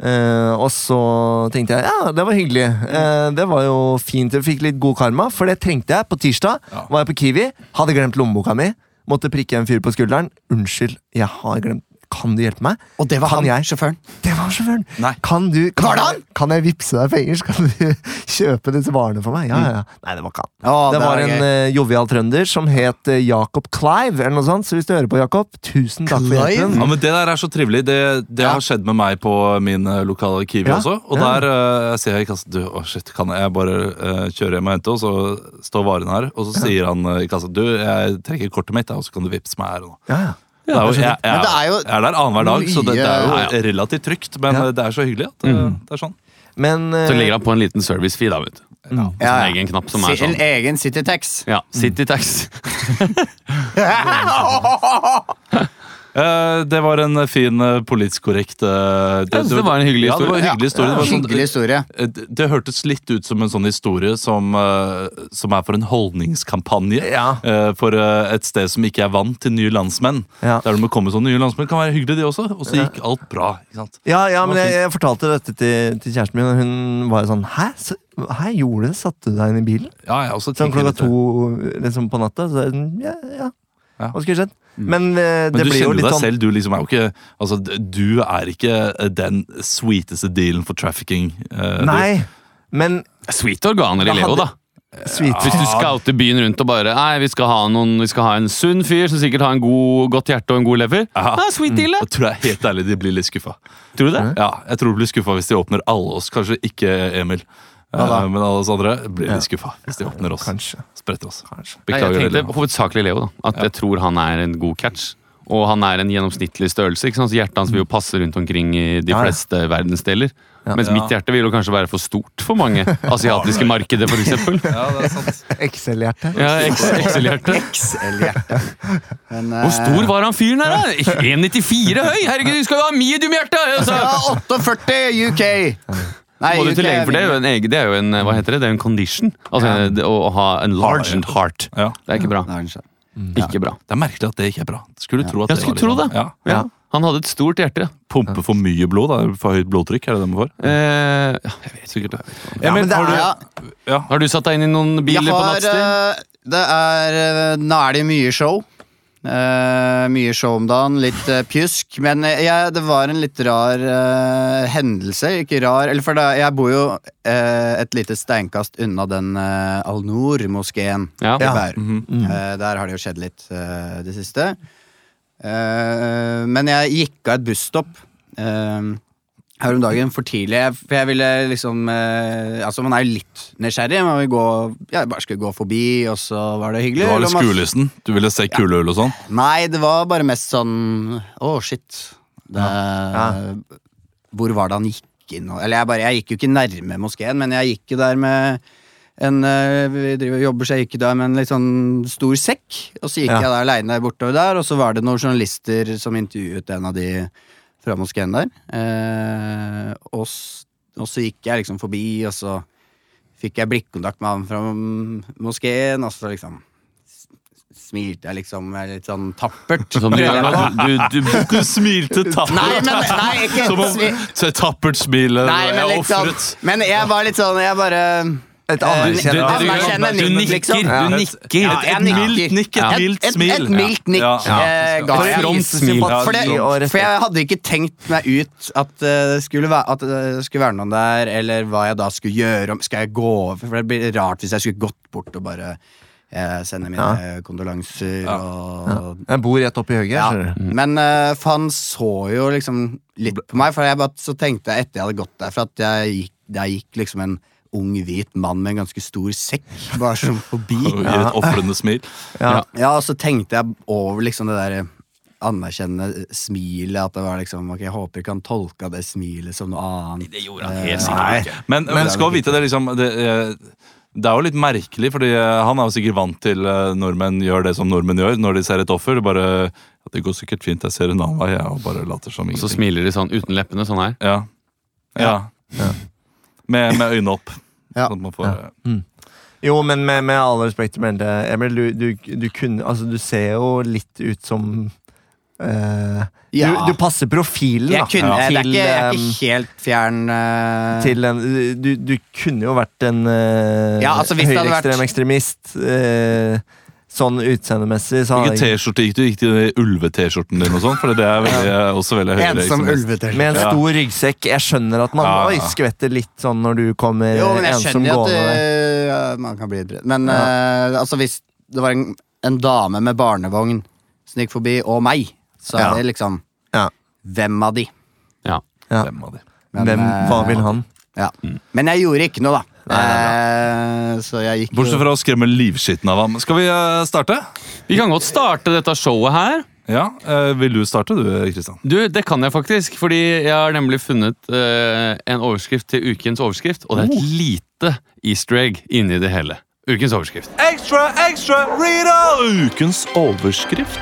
Speaker 4: Eh, og så tenkte jeg ja, det var hyggelig. Eh, det var jo fint. Jeg fikk litt god karma, for det trengte jeg. På tirsdag
Speaker 1: Ja.
Speaker 4: var jeg på Kiwi, hadde glemt lommeboka mi. Måtte prikke en fyr på skulderen. Unnskyld, jeg har glemt Kan du hjelpe meg?
Speaker 2: Og det var
Speaker 4: Kan
Speaker 2: han,
Speaker 4: jeg?
Speaker 2: sjåføren.
Speaker 4: Det var sjåføren!
Speaker 1: Nei.
Speaker 4: Kan du kan,
Speaker 2: Var det han?
Speaker 4: jeg- kan jeg vippse deg penger? Så kan du [LAUGHS] kjøpe disse varene for meg? Ja, ja, ja. Nei, det var ikke han.
Speaker 2: Å,
Speaker 4: Det var
Speaker 2: gøy.
Speaker 4: en eh, jovial trønder som het eh, Jakob Clive, eller noe sånt. Så hvis du hører på, Jakob, tusen takk for
Speaker 2: Clive?
Speaker 4: hjelpen.
Speaker 1: Ja, men Det der er så trivelig. Det, det
Speaker 2: Ja.
Speaker 1: har skjedd med meg på min eh, lokale Kiwi
Speaker 4: Ja,
Speaker 1: også. Og
Speaker 4: ja.
Speaker 1: der eh, ser jeg i kassa Du, å shit, kan jeg bare eh, kjøre hjem og hente, og så står varen her. Og så sier han eh, i kassa Du, jeg trekker kortet mitt, ja, og så kan du vippse meg her og nå.
Speaker 4: Ja, ja.
Speaker 1: Det er jo, jeg, jeg,
Speaker 2: Men det er jo
Speaker 1: jeg er der annenhver dag, så det, det
Speaker 2: mye-
Speaker 1: er jo relativt trygt. Men
Speaker 4: Ja.
Speaker 1: eh, det er så hyggelig at eh, det er sånn.
Speaker 4: Men eh,
Speaker 3: Så legger han på en liten service fee, da, vet du.
Speaker 2: ja,
Speaker 3: En
Speaker 2: ja.
Speaker 3: egen knapp som er
Speaker 2: Si- En
Speaker 3: sånn.
Speaker 2: egen
Speaker 3: [LAUGHS]
Speaker 2: Citytex. [LAUGHS]
Speaker 3: Ja, Citytax.
Speaker 1: Eh, det var en fin eh, politisk korrekt eh,
Speaker 3: Jeg synes det var en hyggelig
Speaker 1: Ja, det var en
Speaker 2: Ja,
Speaker 1: hyggelig historie. Det, var sånn,
Speaker 2: Hyggelig historie.
Speaker 1: eh, det, det hørtes litt ut som en sånn historie som, eh, som er for en holdningskampanje.
Speaker 4: Ja.
Speaker 1: eh, for eh, et sted som ikke er vant til nye landsmenn.
Speaker 4: Ja.
Speaker 1: Der du må komme som nye landsmenn kan være hyggelig, de også. Og så gikk alt bra. ikke sant?
Speaker 4: Ja, ja, men
Speaker 1: Det var
Speaker 4: jeg, jeg fortalte dette til, til kjæresten min, og hun var jo sånn Hæ? Så, hæ, gjorde du det? Satte du deg inn i bilen?
Speaker 1: Ja, jeg også
Speaker 4: Sånn
Speaker 1: tenker
Speaker 4: klokka
Speaker 1: litt det.
Speaker 4: to liksom, på natta? Så jeg, sånn, ja, ja.
Speaker 1: Ja.
Speaker 4: Hva skulle skjedd? Men eh, det
Speaker 1: Men du
Speaker 4: blir jo
Speaker 1: kjenner jo
Speaker 4: litt
Speaker 1: deg
Speaker 4: sånn
Speaker 1: selv. Du liksom er jo ikke altså, d- Du er ikke eh, den sweeteste dealen for trafficking. eh, du.
Speaker 4: Nei, men
Speaker 3: [LAUGHS] Sweet organer i
Speaker 4: Da
Speaker 3: Leo,
Speaker 4: hadde-
Speaker 3: da.
Speaker 4: sweet
Speaker 3: Hvis du scouter byen rundt og bare Nei, vi skal ha, noen, vi skal ha en sunn fyr som sikkert har en god, godt hjerte og en god lever.
Speaker 1: Aha.
Speaker 3: Ja, sweet deal,
Speaker 1: Jeg
Speaker 3: det.
Speaker 1: tror jeg er helt ærlig de blir litt skuffa.
Speaker 3: Tror du det?
Speaker 4: Mm.
Speaker 1: Ja, jeg tror de blir skuffa hvis de åpner alle oss. Kanskje ikke Emil. Eh, Men alle oss andre blir litt skuffa hvis de åpner oss.
Speaker 4: [LAUGHS] Kanskje.
Speaker 1: Spretter oss.
Speaker 3: Nei, jeg
Speaker 1: Beklager.
Speaker 3: tenkte
Speaker 1: Elin.
Speaker 3: hovedsakelig Leo, da. At jeg tror han er en god catch. Og han er en gjennomsnittlig størrelse. ikke sant? Så Hjertet hans vil jo passe rundt omkring i de
Speaker 4: Ja, ja.
Speaker 3: fleste verdensdeler. Mens
Speaker 1: Mm. Ja.
Speaker 3: mitt hjerte vil jo kanskje være for stort for mange asiatiske markeder, f.eks.
Speaker 1: Ja, det er sant.
Speaker 4: XL-hjerte.
Speaker 3: Ja, XL-hjerte.
Speaker 2: Men,
Speaker 3: Hvor
Speaker 2: eh,
Speaker 3: stor var han fyren her, da? 1,94 høy! Herregud, du skal jo ha medium-hjerte! Så
Speaker 2: Ja, 48 UK! Nei,
Speaker 3: må du
Speaker 2: UK
Speaker 3: til legen, for det er jo
Speaker 2: vinner.
Speaker 3: en egen, det er jo en, hva heter det, det er jo en condition. Altså det- å ha en largent heart.
Speaker 1: [LAUGHS] Ja.
Speaker 3: Det er ikke bra.
Speaker 2: Det er den selv.
Speaker 3: Ikke bra.
Speaker 1: Det er merkelig at det ikke er bra. Skulle tro at
Speaker 3: Jeg
Speaker 1: det
Speaker 3: skulle
Speaker 1: var
Speaker 3: tro
Speaker 1: litt- sånn-
Speaker 3: det.
Speaker 1: Ja.
Speaker 3: Ja. Han hadde et stort hjerte.
Speaker 1: Pumpe for mye blod, da. For høyt blodtrykk, er det det man får?
Speaker 3: Eh, ja, jeg vet ikke.
Speaker 1: Emil,
Speaker 4: men det
Speaker 1: har du
Speaker 4: er-
Speaker 2: Ja,
Speaker 3: Har du satt deg inn i noen
Speaker 2: jeg
Speaker 3: biler på
Speaker 2: har
Speaker 3: nattstid?
Speaker 2: eh, Det er eh, Nå er det mye show. Eh, mye show om dagen, litt eh, pjusk. Men eh, jeg, det var en litt rar eh, hendelse. Ikke rar, eller for det, jeg bor jo eh, et lite steinkast unna den eh, Al-Noor-moskeen.
Speaker 3: Ja. Mhm.
Speaker 2: i
Speaker 4: Ja.
Speaker 2: Bærum. Eh, der har det jo skjedd litt eh, det siste. Eh, men jeg gikk av et busstopp eh, her om dagen for tidlig. Jeg- For jeg ville liksom eh, Altså, man er jo litt nysgjerrig. Man vil gå Jeg bare skulle gå forbi, og så var det
Speaker 1: Du
Speaker 2: hyggelig.
Speaker 1: var litt
Speaker 2: Eller man-
Speaker 1: skuelysten. Du ville se kulehull og sånn.
Speaker 2: Nei, det var bare mest sånn Å, shit. Det, Hvor var det han gikk inn? og- Eller jeg, bare, jeg gikk jo ikke nærme moskeen, men jeg gikk jo der med en eh, Vi driver og jobber, så jeg gikk jo der med en litt sånn stor sekk. Og så gikk
Speaker 4: Ja.
Speaker 2: jeg der aleine bortover der, og så var det noen journalister som intervjuet en av de fra moskeen der. Eh, og, s- og så gikk jeg liksom forbi, og så fikk jeg blikkontakt med han fra moskeen, og så liksom s- smilte jeg liksom eh, litt sånn tappert.
Speaker 3: Som du gjør nå. Du, du, du,
Speaker 1: [LAUGHS] Du smilte tappert.
Speaker 2: Nei, men nei, ikke
Speaker 1: Som om
Speaker 2: smi-
Speaker 1: så et tappert smil. eh,
Speaker 2: Nei, men
Speaker 1: jeg
Speaker 2: liksom
Speaker 1: ofret.
Speaker 2: Men jeg var litt sånn, jeg bare
Speaker 4: Et
Speaker 2: Eh,
Speaker 3: du,
Speaker 4: anerkjennende
Speaker 2: det- Anerkjenne
Speaker 3: du, du
Speaker 2: nikk,
Speaker 3: nikker.
Speaker 2: liksom.
Speaker 3: Du
Speaker 1: Ja.
Speaker 3: nikker.
Speaker 2: Ja, jeg
Speaker 1: Et mildt
Speaker 2: nikker.
Speaker 1: nikk, et
Speaker 2: Ja.
Speaker 1: mildt
Speaker 2: Et-
Speaker 1: smil.
Speaker 2: Et, et mildt nikk
Speaker 1: Ja.
Speaker 2: eh, ga
Speaker 4: For
Speaker 2: jeg.
Speaker 4: å vise
Speaker 3: smil.
Speaker 1: Ja,
Speaker 2: For, det,
Speaker 4: sympati og
Speaker 2: for
Speaker 4: respekt.
Speaker 2: jeg hadde ikke tenkt meg ut at eh, det skulle være, at det skulle være noen der, eller hva jeg da skulle gjøre. om- Skal jeg gå over? For det blir rart hvis jeg skulle gått bort og bare eh, sende mine kondolanser og
Speaker 4: Jeg bor rett oppi høyre.
Speaker 2: ja.
Speaker 4: skjønner du.
Speaker 2: Men eh, for han så jo liksom litt på meg, for jeg bare, så tenkte jeg etter jeg hadde gått derfra, at jeg gikk, der gikk liksom en ung, hvit mann med en ganske stor sekk bare
Speaker 1: [LAUGHS]
Speaker 2: som
Speaker 1: Og
Speaker 2: forbi.
Speaker 1: Gir et ofrende smil.
Speaker 2: Ja, og så tenkte jeg over liksom det der anerkjennende smilet, at det var liksom Ok, jeg håper ikke han tolka det smilet som noe annet. Eh,
Speaker 3: Det gjorde han helt sikkert
Speaker 1: Nei,
Speaker 3: ikke.
Speaker 1: men, men skal vite det liksom det, eh, det er jo litt merkelig, fordi eh, han er jo sikkert vant til eh, nordmenn gjør det som nordmenn gjør når de ser et offer. Det bare ja, Det går sikkert fint, jeg ser en annen vei, jeg, og bare later som
Speaker 3: Og
Speaker 1: ingenting.
Speaker 3: så smiler de sånn uten leppene, sånn her.
Speaker 1: Ja. Ja. Med, med øynene opp.
Speaker 2: Ja.
Speaker 1: Sånn at man får, eh,
Speaker 4: Jo, men med, med all respekt til Melde, Emil, du, du, du kunne Altså, du ser jo litt ut som eh,
Speaker 2: Ja.
Speaker 4: du, du passer profilen, da.
Speaker 2: Jeg,
Speaker 1: Ja.
Speaker 2: kunne, eh, det er ikke, jeg er
Speaker 4: Til, eh,
Speaker 2: ikke helt fjern eh,
Speaker 4: til en, du, du kunne jo vært en uh,
Speaker 2: Ja, altså, hvis det hadde vært-
Speaker 4: høyreekstrem ekstremist. eh, sånn utseendemessig. Så
Speaker 1: Hvilken
Speaker 4: hadde jeg-
Speaker 1: T-skjorte gikk du gikk til? Ulve-T-skjorten din og sånn? For det er veldig, også veldig høyere.
Speaker 2: Ensom
Speaker 1: ekstremist.
Speaker 2: ulvetøy.
Speaker 4: med en
Speaker 1: Ja.
Speaker 4: stor ryggsekk. Jeg skjønner at man
Speaker 1: Ja,
Speaker 4: oi,
Speaker 1: ja.
Speaker 4: skvetter litt sånn når du kommer
Speaker 2: Jo, men jeg
Speaker 4: ensom
Speaker 2: skjønner jo at eh,
Speaker 4: gående. der.
Speaker 2: det, ja, man kan bli litt redd. Men eh, altså, hvis det var en, en dame med barnevogn som gikk forbi, og meg, så er
Speaker 4: Ja.
Speaker 2: det liksom
Speaker 4: Ja.
Speaker 2: Hvem av de?
Speaker 3: Ja.
Speaker 4: Ja.
Speaker 1: Hvem av de?
Speaker 2: Men,
Speaker 4: Hvem, hva
Speaker 2: eh,
Speaker 4: vil han?
Speaker 2: Ja. Men jeg gjorde ikke noe, da. Eh, så jeg gikk
Speaker 1: Bortsett fra å skremme livskitten av ham. Skal vi eh, starte?
Speaker 3: Vi kan godt starte dette showet her.
Speaker 1: Ja, eh, Vil du starte, du, Kristian?
Speaker 3: Du, Det kan jeg faktisk, fordi jeg har nemlig funnet eh, en overskrift til ukens overskrift, og det er
Speaker 2: Oh.
Speaker 3: et lite easter egg inni det hele. Ukens overskrift.
Speaker 1: Ekstra, ekstra, Rita! Ukens overskrift.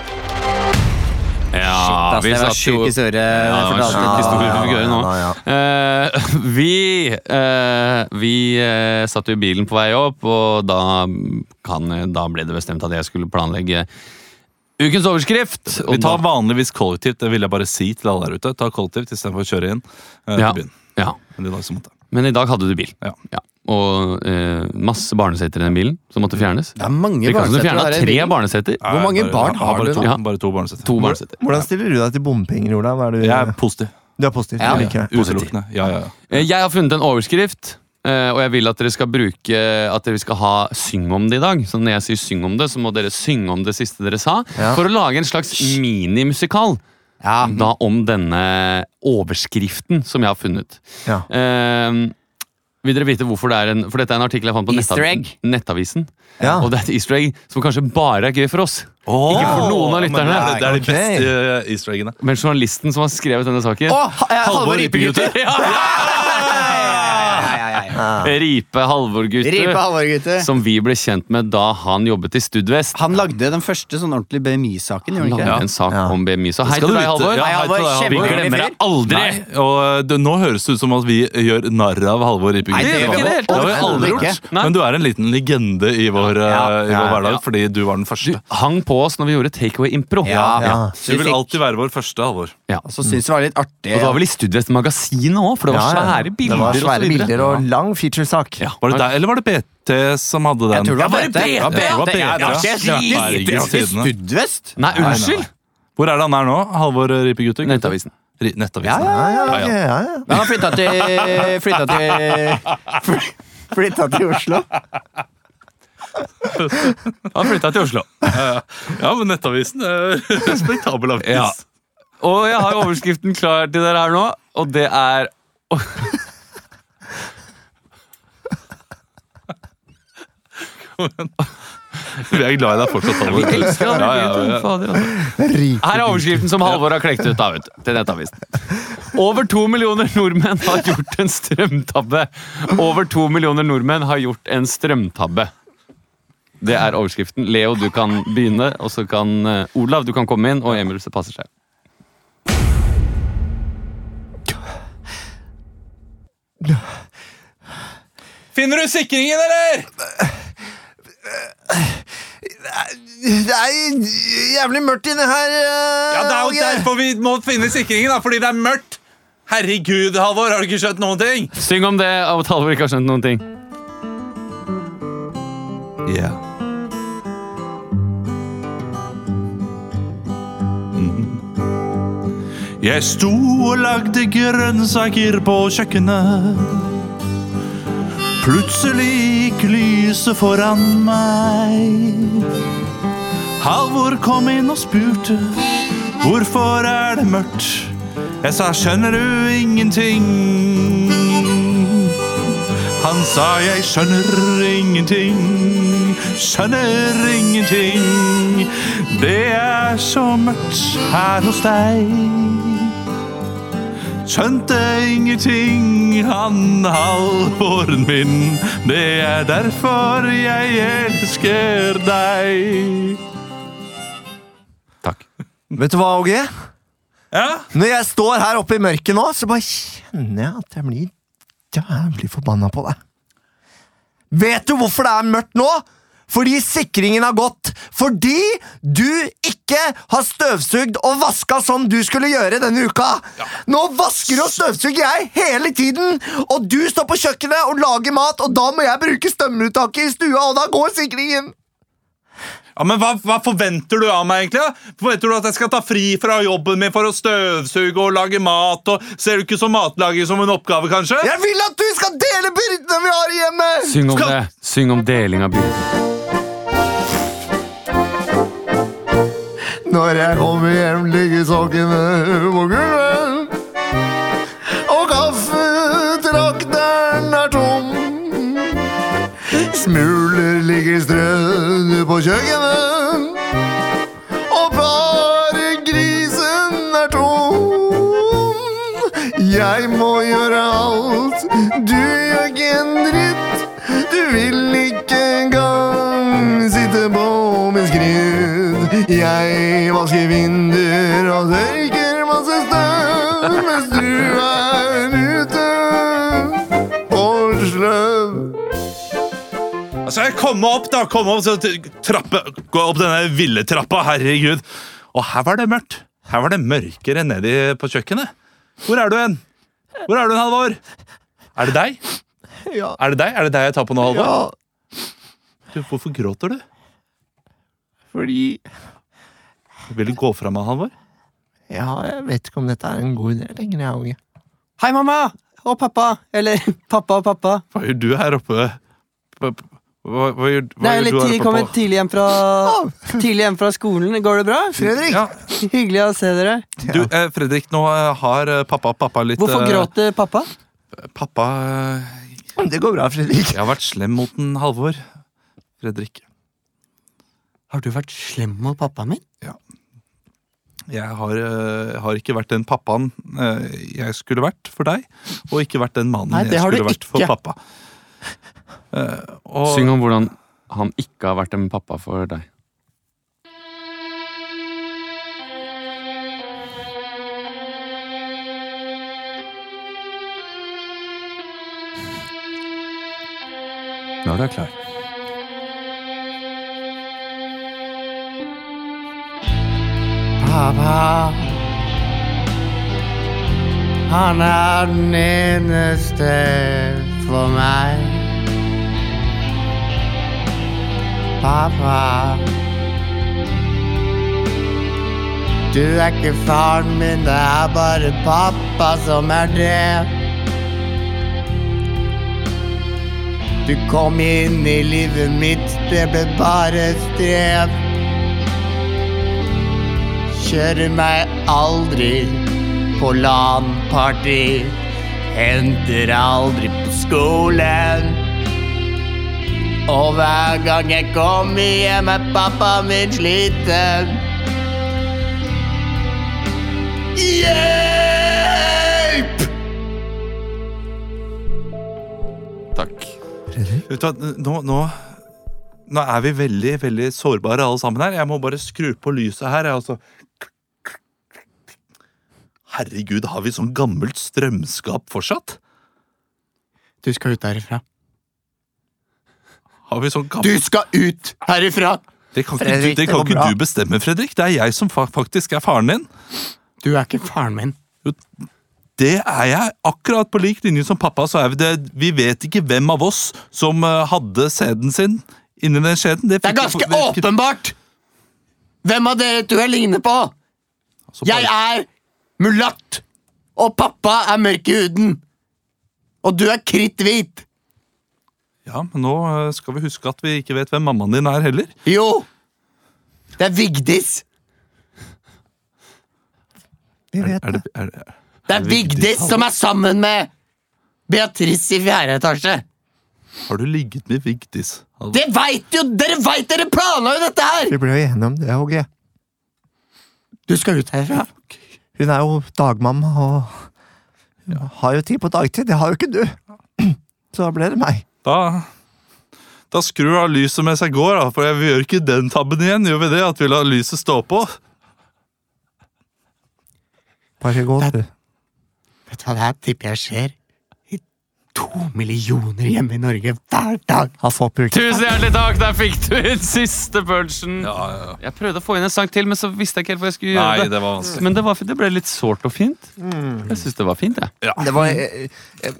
Speaker 3: Ja,
Speaker 2: Shit, ass, det var sjuk historie.
Speaker 3: Ja, det var en
Speaker 2: fortalte
Speaker 3: sjuk
Speaker 2: litt.
Speaker 3: historie vi fikk høre nå.
Speaker 4: Ja, ja,
Speaker 3: Eh, [LAUGHS] vi eh, vi eh, satt jo i bilen på vei opp, og da, kan, da ble det bestemt at jeg skulle planlegge ukens overskrift.
Speaker 1: Vi
Speaker 3: Og
Speaker 1: tar
Speaker 3: da-
Speaker 1: vanligvis kollektivt, det vil jeg bare si til alle der ute. Ta kollektivt istedenfor å kjøre inn eh,
Speaker 3: Ja.
Speaker 1: til byen.
Speaker 3: ja,
Speaker 1: Men i dag så måtte jeg.
Speaker 3: Men i dag hadte du bil.
Speaker 1: Ja.
Speaker 3: Og eh, masse barneseter i den bilen som måtte fjernes.
Speaker 2: Det er mange
Speaker 3: Vi kan
Speaker 2: barnesetter
Speaker 3: ikke fjerne
Speaker 2: å være i
Speaker 3: tre
Speaker 2: bilen.
Speaker 3: barneseter.
Speaker 1: Nei,
Speaker 2: Hvor mange
Speaker 1: bare-
Speaker 2: barn
Speaker 1: jeg
Speaker 2: har
Speaker 1: bare
Speaker 2: du
Speaker 1: to-
Speaker 3: da?
Speaker 1: Bare to barnesetter.
Speaker 3: To barneseter.
Speaker 4: Hvordan stiller du deg til bompenger, Ola? Hva er du,
Speaker 1: Jeg er positiv.
Speaker 4: du er positiv.
Speaker 2: Ja.
Speaker 4: Jeg liker det.
Speaker 1: Utelukkende. Ja, ja, ja.
Speaker 3: Eh, Jeg har funnet en overskrift, eh, og jeg vil at dere skal bruke At dere skal ha 'syng om det' i dag. Så når jeg sier 'syng om det', så må dere synge om det siste dere sa.
Speaker 4: Ja.
Speaker 3: For å lage en slags minimusikal
Speaker 2: Ja.
Speaker 3: da om denne overskriften som jeg har funnet.
Speaker 4: Ja.
Speaker 3: Eh, vil dere vite hvorfor det er en For dette er en artikkel jeg fant på
Speaker 2: Easter
Speaker 3: nettav-
Speaker 2: egg.
Speaker 3: Nettavisen.
Speaker 4: Ja.
Speaker 3: Og det er et easter egg som kanskje bare er gøy for oss. Ikke for noen av lytterne.
Speaker 1: Det, det er de
Speaker 4: Ok.
Speaker 1: beste eh, easter eggene.
Speaker 3: Men journalisten som har skrevet denne saken
Speaker 2: Å, ha- eh, Halvor Ripe-gutter!
Speaker 3: [LAUGHS] Ja,
Speaker 2: Ja, ja, ja, ja.
Speaker 3: Ripe Halvor-gutter.
Speaker 2: Ripe Halvor, gutter.
Speaker 3: Som vi ble kjent med da han jobbet i Studvest.
Speaker 2: Han lagde den første sånn ordentlige BMI-saken, gjorde han
Speaker 3: lagde
Speaker 2: ikke? det?
Speaker 3: en sak
Speaker 4: Ja.
Speaker 3: om BMI. Så hei
Speaker 1: Skal
Speaker 3: til
Speaker 1: du
Speaker 3: deg,
Speaker 1: vite-
Speaker 3: Halvor.
Speaker 1: Ja,
Speaker 2: Hei,
Speaker 1: hei til
Speaker 2: Halvor,
Speaker 1: deg, Halvor.
Speaker 3: Vi
Speaker 2: kjempehyggelig
Speaker 3: glemmer deg
Speaker 2: fyr.
Speaker 3: aldri!
Speaker 1: Nei, og eh, det, Nå høres det ut som at vi gjør narr av Halvor Ripe
Speaker 2: Nei, det gjør vi
Speaker 1: Gutter.
Speaker 2: ikke.
Speaker 1: Det har vi aldri
Speaker 2: Overhodet
Speaker 1: gjort.
Speaker 3: ikke. Nei.
Speaker 1: Men du er en liten legende i vår, eh,
Speaker 2: Ja,
Speaker 1: i
Speaker 4: ja,
Speaker 1: vår hverdag,
Speaker 3: ja.
Speaker 1: fordi du var den første.
Speaker 3: Hang på oss når vi gjorde takeaway-impro.
Speaker 2: Ja.
Speaker 4: Ja.
Speaker 1: Du vil alltid være vår første, Halvor.
Speaker 2: Og så syntes vi det var litt artig.
Speaker 3: Og det var vel i Studvest-magasinet òg, for det var
Speaker 4: Ja, ja.
Speaker 3: svære bilder.
Speaker 4: Det var
Speaker 3: og så
Speaker 4: svære
Speaker 3: videre.
Speaker 4: bilder og lang featuresak.
Speaker 3: Ja.
Speaker 1: Var det deg, eller var det BT som hadde den?
Speaker 2: Jeg tror det var
Speaker 3: Ja,
Speaker 2: BT.
Speaker 3: var
Speaker 1: BT?
Speaker 2: Det
Speaker 3: det
Speaker 1: Ja,
Speaker 2: er
Speaker 1: det
Speaker 2: ikke-
Speaker 1: er
Speaker 2: det er
Speaker 1: ikke-
Speaker 2: ikke- det er ikke
Speaker 1: Tidene.
Speaker 2: Studvest.
Speaker 3: Nei,
Speaker 1: nei,
Speaker 3: unnskyld!
Speaker 1: Hvor er det han er nå? Halvor eh, Ripe Gutter?
Speaker 3: Nettavisen.
Speaker 1: Ri- Nettavisen.
Speaker 2: Ja, ja,
Speaker 4: Ja,
Speaker 1: Ja, ja.
Speaker 4: ja, ja, ja.
Speaker 2: Men han flytta til [LAUGHS] Flytta til fly- Flytta til Oslo.
Speaker 3: Han flytta til Oslo.
Speaker 1: Ja, men Nettavisen er respektabel avis.
Speaker 3: Ja. Og jeg har overskriften klar til dere her nå, og det er
Speaker 1: Vi er glad i deg fortsatt, Halvor.
Speaker 3: Jeg elsker han,
Speaker 1: Ja, ja, ja.
Speaker 3: Fader, altså.
Speaker 4: Rik.
Speaker 3: Her er overskriften som Halvor har klekt ut da, vet du, til Nettavisen. Over to millioner nordmenn har gjort en strømtabbe. Over to millioner nordmenn har gjort en strømtabbe. Det er overskriften. Leo, du kan begynne, og så kan eh, Olav du kan komme inn, og Emil hvis det passer seg. Finner du sikringen, eller?
Speaker 4: Det er jævlig mørkt inne her. eh,
Speaker 1: Ja, Det er jo
Speaker 4: Åge.
Speaker 1: derfor vi må finne sikringen, da, fordi det er mørkt! Herregud, Halvor, har du ikke skjønt noen ting?
Speaker 3: Syng om det, av at Halvor ikke har skjønt noen ting.
Speaker 1: Yeah. Mhm. Jeg sto og lagde grønnsaker på kjøkkenet. Plutselig gikk lyset foran meg. Halvor kom inn og spurte hvorfor er det mørkt. Jeg sa skjønner du ingenting. Han sa jeg skjønner ingenting, skjønner ingenting. Det er så mørkt her hos deg. Skjønte ingenting, han halvåren min. Det er derfor jeg elsker deg.
Speaker 3: Takk.
Speaker 4: Vet du hva, Åge?
Speaker 1: Ja?
Speaker 4: Når jeg står her oppe i mørket nå, så bare kjenner jeg at jeg blir jævlig forbanna på deg. Vet du hvorfor det er mørkt nå? Fordi sikringen har gått. Fordi du ikke har støvsugd og vaska som du skulle gjøre denne uka. Nå vasker og støvsuger jeg hele tiden, og du står på kjøkkenet og lager mat, og da må jeg bruke stømmeruttaket i stua, og da går sikringen.
Speaker 1: Ja, men hva, hva forventer du av meg, egentlig? da? Forventer du at jeg skal ta fri fra jobben min for å støvsuge og lage mat? og Ser du ikke så matlager som en oppgave, kanskje?
Speaker 4: Jeg vil at du skal dele byrdene vi har i hjemmet!
Speaker 3: Syng om
Speaker 1: Skal-
Speaker 3: det. Syng om deling av byrden.
Speaker 4: Når jeg kommer hjem, ligger sokkene på gulvet. Og kaffetrakteren er tom. Smuler ligger strødd på kjøkkenet. Og bare grisen er tom. Jeg må gjøre alt, du gjør ikke en dritt. Du vil ikke engang sitte på min skritt. Jeg vasker vinduer og tørker masse støv mens du er ute på sløv.
Speaker 1: Altså, jeg komme opp, da! Komme opp, så t- trappe, Gå opp denne ville trappa, herregud. Og her var det mørkt. Her var det mørkere nedi på kjøkkenet. Hvor er du hen? Hvor er du hen, Halvor? Er det deg?
Speaker 4: Ja.
Speaker 1: Er det deg Er det deg jeg tar på nå, Halvor?
Speaker 4: ja,
Speaker 1: Du, hvorfor gråter du?
Speaker 4: fordi
Speaker 1: Vil du gå fra meg, Halvor?
Speaker 4: Ja, jeg vet ikke om dette er en god idé lenger, jeg, Åge.
Speaker 2: Hei, mamma! Og pappa! Eller [LAUGHS] pappa og pappa.
Speaker 1: Hva gjør du her oppe? Hva, hva, hva gjør, hva gjør
Speaker 2: Det er
Speaker 1: du
Speaker 2: litt
Speaker 1: her
Speaker 2: tidlig
Speaker 1: oppe
Speaker 2: kommet
Speaker 1: på-
Speaker 2: tidlig hjem fra Tidlig hjem fra skolen. Går det bra?
Speaker 4: Fredrik!
Speaker 1: Ja,
Speaker 2: Hyggelig å se dere.
Speaker 1: du, eh, Fredrik, nå eh, har eh, pappa pappa litt
Speaker 2: Hvorfor
Speaker 1: eh,
Speaker 2: gråter pappa?
Speaker 1: Pappa eh,
Speaker 4: Det går bra, Fredrik.
Speaker 1: Jeg har vært slem mot den Halvor. Fredrik.
Speaker 2: Har du vært slem mot pappaen min?
Speaker 1: Jeg har, eh, har ikke vært den pappaen eh, jeg skulle vært for deg, og ikke vært den mannen
Speaker 2: Nei, det
Speaker 1: jeg
Speaker 2: har du
Speaker 1: skulle vært for
Speaker 2: ikke.
Speaker 1: pappa. Eh, og
Speaker 3: Syng om hvordan han ikke har vært en pappa for deg. Når du er klar.
Speaker 2: Pappa. Han er den eneste for meg. Pappa. Du er ikke faren min, det er bare pappa som er det. Du kom inn i livet mitt, det ble bare strev. Kjører meg aldri på LAN-party. Henter aldri på skolen. Og hver gang jeg kommer hjem, er pappa min sliten. Hjelp!
Speaker 3: Takk.
Speaker 1: Vet du hva, nå, nå, nå er vi veldig, veldig sårbare alle sammen her. Jeg må bare skru på lyset her. Jeg, altså. Herregud, har vi sånn gammelt strømskap fortsatt?
Speaker 2: Du skal ut herifra.
Speaker 1: Har vi sånn
Speaker 2: Du
Speaker 1: gammelt...
Speaker 2: skal ut herifra!
Speaker 1: Det kan ikke,
Speaker 4: Fredrik,
Speaker 1: du, det
Speaker 4: det
Speaker 1: kan
Speaker 4: går
Speaker 1: ikke
Speaker 4: bra.
Speaker 1: du bestemme, Fredrik. Det er jeg som fa faktisk er faren din.
Speaker 2: Du er ikke faren min.
Speaker 1: Det er jeg. Akkurat på lik linje som pappa, så er vi det. Vi vet ikke hvem av oss som eh, hadde sæden sin inni den skjeden.
Speaker 2: Det er ganske åpenbart! Hvem av dere to jeg ligner på? Jeg er mulatt, og pappa er mørk i huden. Og du er kritthvit.
Speaker 1: Ja, men nå eh, skal vi huske at vi ikke vet hvem mammaen din er heller.
Speaker 2: Jo, det er Vigdis.
Speaker 4: Vi vet
Speaker 1: Er
Speaker 4: det.
Speaker 1: det, er det
Speaker 2: Det er Vigdis som er sammen med Beatrice i fjerde etasje.
Speaker 1: Har du ligget med Vigdis? Halvor?
Speaker 2: Det veit jo! Dere veit! Dere planla jo dette her!
Speaker 4: Vi ble jo enige om det, Åge.
Speaker 2: Du skal ut herfra.
Speaker 4: Hun er jo dagmamma og hun har jo tid på dagtid. Det har jo ikke du. [CLEARS THROAT] Så da ble det meg.
Speaker 1: Da, da skrur av lyset mens jeg går, da, for vi gjør ikke den tabben igjen. Gjør vi det? At vi lar lyset stå på?
Speaker 4: Vær så god, du.
Speaker 2: Vet du hva det her tipper jeg skjer i to millioner hjemme i Norge hver dag?
Speaker 4: Han får bruke
Speaker 3: Tusen hjertelig takk! Der fikk du den siste punchen.
Speaker 1: Ja, ja,
Speaker 3: Jeg prøvde å få inn en sang til, men så visste jeg ikke helt hvor jeg skulle
Speaker 1: Nei,
Speaker 3: gjøre det.
Speaker 1: det var vanskelig.
Speaker 3: Men det, var, fint. det ble litt sårt og fint.
Speaker 2: Mm.
Speaker 3: Jeg syns det var fint, jeg.
Speaker 4: Det var eh, eh,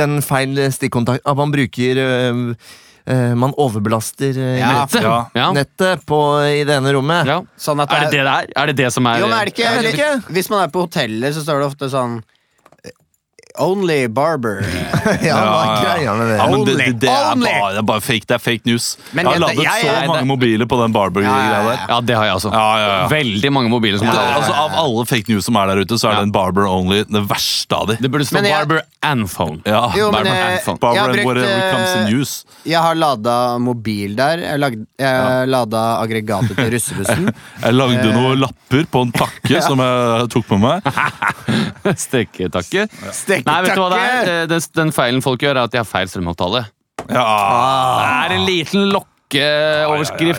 Speaker 4: den feil stikkontakt At man bruker eh, eh, Man overbelaster eh,
Speaker 2: Ja.
Speaker 4: nettet,
Speaker 1: Ja.
Speaker 3: Ja.
Speaker 4: nettet på, i det ene rommet.
Speaker 3: Ja.
Speaker 2: Sånn at
Speaker 3: Er det det det er? Er det det som er
Speaker 2: Jo, men er det ikke,
Speaker 4: Jeg vet ikke.
Speaker 2: Hvis man er på hoteller, så står det ofte sånn eh, Only barber.
Speaker 4: [LAUGHS] Ja, hva er
Speaker 1: ja,
Speaker 4: greia med det?
Speaker 1: Ja, men det, det, det, er
Speaker 2: Only!
Speaker 1: bare, det er bare fake. Det er fake news.
Speaker 2: Men
Speaker 1: jeg har
Speaker 2: jeg-
Speaker 1: ladet
Speaker 2: jeg-
Speaker 1: så
Speaker 2: jeg-
Speaker 1: mange mobiler på den Barber-greia
Speaker 2: Ja, ja, ja.
Speaker 1: der.
Speaker 3: Ja, det har jeg også.
Speaker 1: Ja, ja, ja.
Speaker 3: Veldig mange mobiler som
Speaker 1: Det,
Speaker 3: har det.
Speaker 1: altså, av alle fake news som er der ute, så er
Speaker 3: Ja.
Speaker 1: den Barber Only den verste av de.
Speaker 3: Det burde stå
Speaker 2: Men jeg-
Speaker 3: Barber and Phone. [LAUGHS]
Speaker 1: Ja,
Speaker 2: Jo, men
Speaker 1: Barber,
Speaker 2: jeg-
Speaker 1: and
Speaker 2: jeg har
Speaker 1: Barber and
Speaker 2: brukt,
Speaker 1: whatever comes
Speaker 2: eh,
Speaker 1: in news.
Speaker 2: Jeg har lada mobil der. Jeg, lag, jeg lada aggregatet til russebussen.
Speaker 1: [LAUGHS]
Speaker 2: Eh,
Speaker 1: Jeg lagde noen lapper på en
Speaker 2: [LAUGHS]
Speaker 1: pakke som jeg tok med meg.
Speaker 3: Steketakke. Nei, vet du hva det er? Eh, Den, den feilen folk gjør, er at de har feil strømavtale.
Speaker 1: Ja,
Speaker 3: Det er en liten lokk sjokkeoverskrift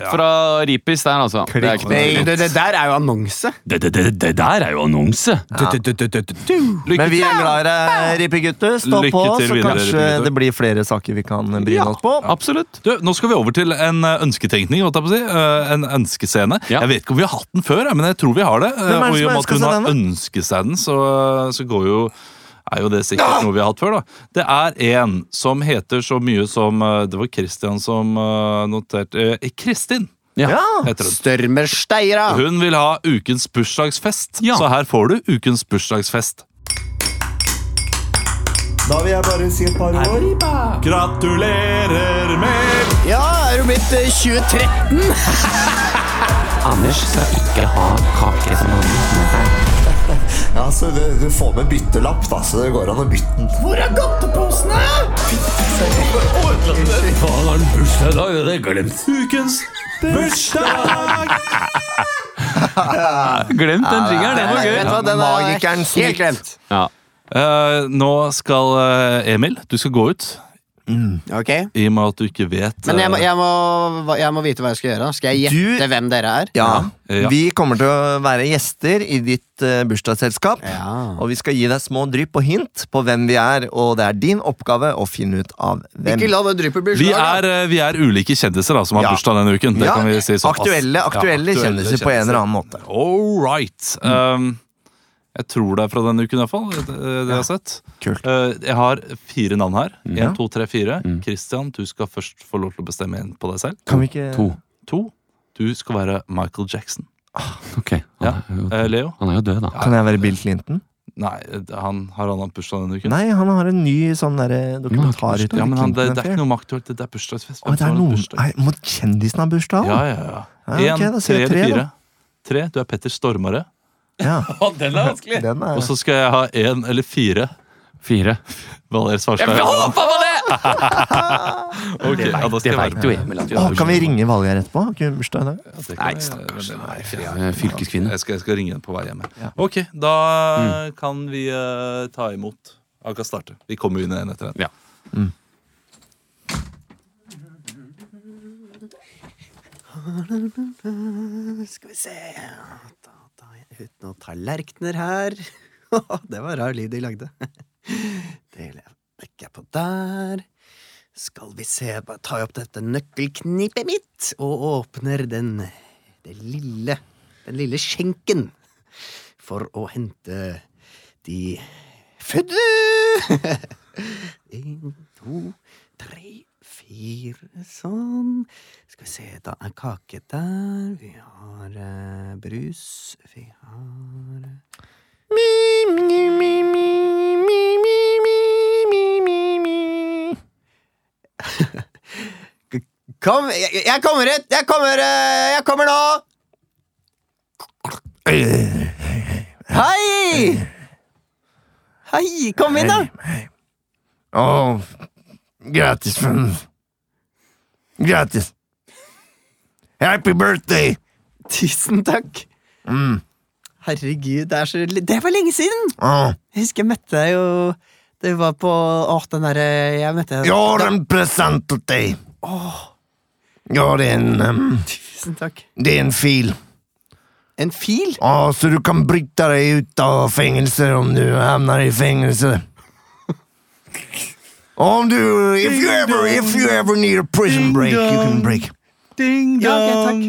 Speaker 1: Ah. Ja, ja, ja, ja.
Speaker 3: fra Ripis der, altså. Det er ikke noe-
Speaker 4: Clickbait.
Speaker 2: Det, det der er jo annonse.
Speaker 3: Det, det, det, det der er jo annonse!
Speaker 1: Lykke
Speaker 4: Men vi er glad i deg, Rippegutter. Stå
Speaker 1: Lykke
Speaker 4: på,
Speaker 1: til
Speaker 4: så
Speaker 1: videre,
Speaker 4: kanskje
Speaker 1: Rippegutter.
Speaker 4: det blir flere saker vi kan bryne oss på.
Speaker 3: Absolutt.
Speaker 1: Du, Nå skal vi over til en eh, ønsketenkning. holdt jeg på å si. Eh, En ønskescene.
Speaker 3: Ja.
Speaker 1: Jeg vet ikke om vi har hatt den før, eh, men jeg tror vi har det. Eh,
Speaker 4: Hvem er det
Speaker 1: Og i og
Speaker 4: som
Speaker 1: med at hun
Speaker 4: ønsker seg
Speaker 1: har ønsket seg den, så, eh, så går jo, er jo det
Speaker 4: Ah!
Speaker 1: sikkert noe vi har hatt før. da. Det er en som heter så mye som eh, Det var Christian som eh, noterte eh, Kristin
Speaker 4: Ja.
Speaker 1: heter hun.
Speaker 2: Størmer Steira.
Speaker 1: Hun vil ha ukens bursdagsfest,
Speaker 3: Ja.
Speaker 1: så her får du ukens bursdagsfest.
Speaker 4: Da vil jeg bare si et par ord.
Speaker 1: Gratulerer med
Speaker 2: Ja, er du blitt eh, 23?
Speaker 5: [LAUGHS] Anders skal ikke ha kaker sånn som noen med seg.
Speaker 6: Ja, så du, du får med byttelapp, da, så det går an å bytte den.
Speaker 2: Hvor er godteposene?
Speaker 1: ukens
Speaker 3: Glemt den triggeren, det var
Speaker 2: Vet du hva, den er
Speaker 4: Magikeren
Speaker 2: helt
Speaker 4: snitt.
Speaker 2: glemt.
Speaker 3: Ja.
Speaker 1: Eh, nå skal eh, Emil, du skal gå ut.
Speaker 4: Mm.
Speaker 2: Ok.
Speaker 1: I og med at du ikke vet
Speaker 2: Men jeg må,
Speaker 1: eh,
Speaker 2: jeg, må, jeg må vite hva jeg skal gjøre. Skal jeg gjette
Speaker 4: Du-
Speaker 2: hvem dere er?
Speaker 4: Ja.
Speaker 1: Ja.
Speaker 4: Vi kommer til å være gjester i ditt eh, bursdagsselskap.
Speaker 2: Ja.
Speaker 4: Og vi skal gi deg små drypp og hint på hvem vi er, og det er din oppgave å finne ut av hvem.
Speaker 2: Ikke la det dryppe bli
Speaker 1: vi, er,
Speaker 2: slag, da.
Speaker 1: eh, vi er ulike kjendiser da, som har
Speaker 4: Ja.
Speaker 1: bursdag denne uken. Det
Speaker 4: Ja,
Speaker 1: kan vi si såpass.
Speaker 4: aktuelle, aktuelle kjendiser på en eller annen måte.
Speaker 1: All right.
Speaker 4: Mm.
Speaker 1: Um, jeg tror det er fra denne uken, iallfall. Det, det jeg har sett.
Speaker 4: Kult. Mm.
Speaker 1: Eh, jeg har fire navn her.
Speaker 4: Ja.
Speaker 1: Én, to, tre, fire. Christian, du skal først få lov til å bestemme en på deg selv.
Speaker 4: Kan vi ikke
Speaker 3: To.
Speaker 1: To, du skal være Michael Jackson.
Speaker 3: Ok.
Speaker 1: Ja.
Speaker 3: Han, er jo,
Speaker 1: Eh, Leo?
Speaker 3: han er jo død, da.
Speaker 4: Kan jeg være Bill Clinton?
Speaker 1: Nei, han har han hatt bursdag denne uken?
Speaker 4: Nei, han har en ny sånn derre dokumentar.
Speaker 3: bursdag.
Speaker 4: ute.
Speaker 1: ja, men han, det, det er
Speaker 4: Clinton
Speaker 1: ikke
Speaker 4: Affair.
Speaker 1: noe med aktuelt. Det er bursdagsfest.
Speaker 4: Å, det er
Speaker 1: Hvem som har
Speaker 4: noen,
Speaker 1: bursdag?
Speaker 4: nei, Må kjendisen ha bursdag?
Speaker 1: Ja, ja, ja.
Speaker 4: Ja, ok,
Speaker 1: En,
Speaker 4: da
Speaker 1: tre
Speaker 4: sier jeg
Speaker 1: eller
Speaker 4: tre,
Speaker 1: fire. Tre, du er Petter Stormare.
Speaker 4: Ja,
Speaker 3: Den er vanskelig.
Speaker 4: den er
Speaker 1: Og så skal jeg ha en eller fire.
Speaker 3: Fire.
Speaker 1: Valer Svarstad.
Speaker 3: på det!
Speaker 1: [LAUGHS] Ok, ja, da skal
Speaker 3: Det
Speaker 1: jeg
Speaker 3: veit
Speaker 1: være
Speaker 3: jo
Speaker 1: med.
Speaker 3: Emil. at vi
Speaker 4: Å,
Speaker 3: har
Speaker 4: Kan vi ringe Valgerd etterpå? Har ikke hun bursdag i dag?
Speaker 1: Ja, det kan
Speaker 3: Nei,
Speaker 1: jeg-
Speaker 3: stakkars.
Speaker 1: det- nei, fy-
Speaker 3: Eh, Fylkeskvinne.
Speaker 1: Jeg skal, jeg Mm. skal ringe henne på vei hjemme. Ok, da kan vi eh, ta imot. Han kan starte. Vi kommer jo inn en etter en.
Speaker 3: Ja.
Speaker 2: Skal vi se da, da, Uten noen tallerkener her. [LAUGHS] det var rar lyd de lagde. [LAUGHS] Det legger jeg på der. Skal vi se Bare tar jeg opp dette nøkkelknippet mitt og åpner den, det lille, den lille skjenken for å hente de fødde! [LAUGHS] En, to, tre, fire, sånn. Skal vi se, da er kake der. Vi har eh, brus. Vi har eh, [LAUGHS] Kom, jeg, jeg kommer ut! Jeg kommer, eh, jeg kommer nå! Hei! Hei, kom inn, da!
Speaker 4: Å, gratis. Gratis. Happy birthday!
Speaker 2: Tusen takk.
Speaker 4: Mm.
Speaker 2: Herregud, det, er så, det var lenge siden!
Speaker 4: Å,
Speaker 2: Jeg husker jeg møtte deg jo Det var på Åh, den derre Jeg møtte deg
Speaker 4: You're a present to day. You're in um,
Speaker 2: Tusen takk.
Speaker 4: Det er en fil.
Speaker 2: En fil?
Speaker 4: Å, så du kan bryte deg ut av fängelse om du hamnar i fängelse. Om du if you, ever, if you ever need a prison break, you can break.
Speaker 1: Ding
Speaker 2: Ja, ok, takk.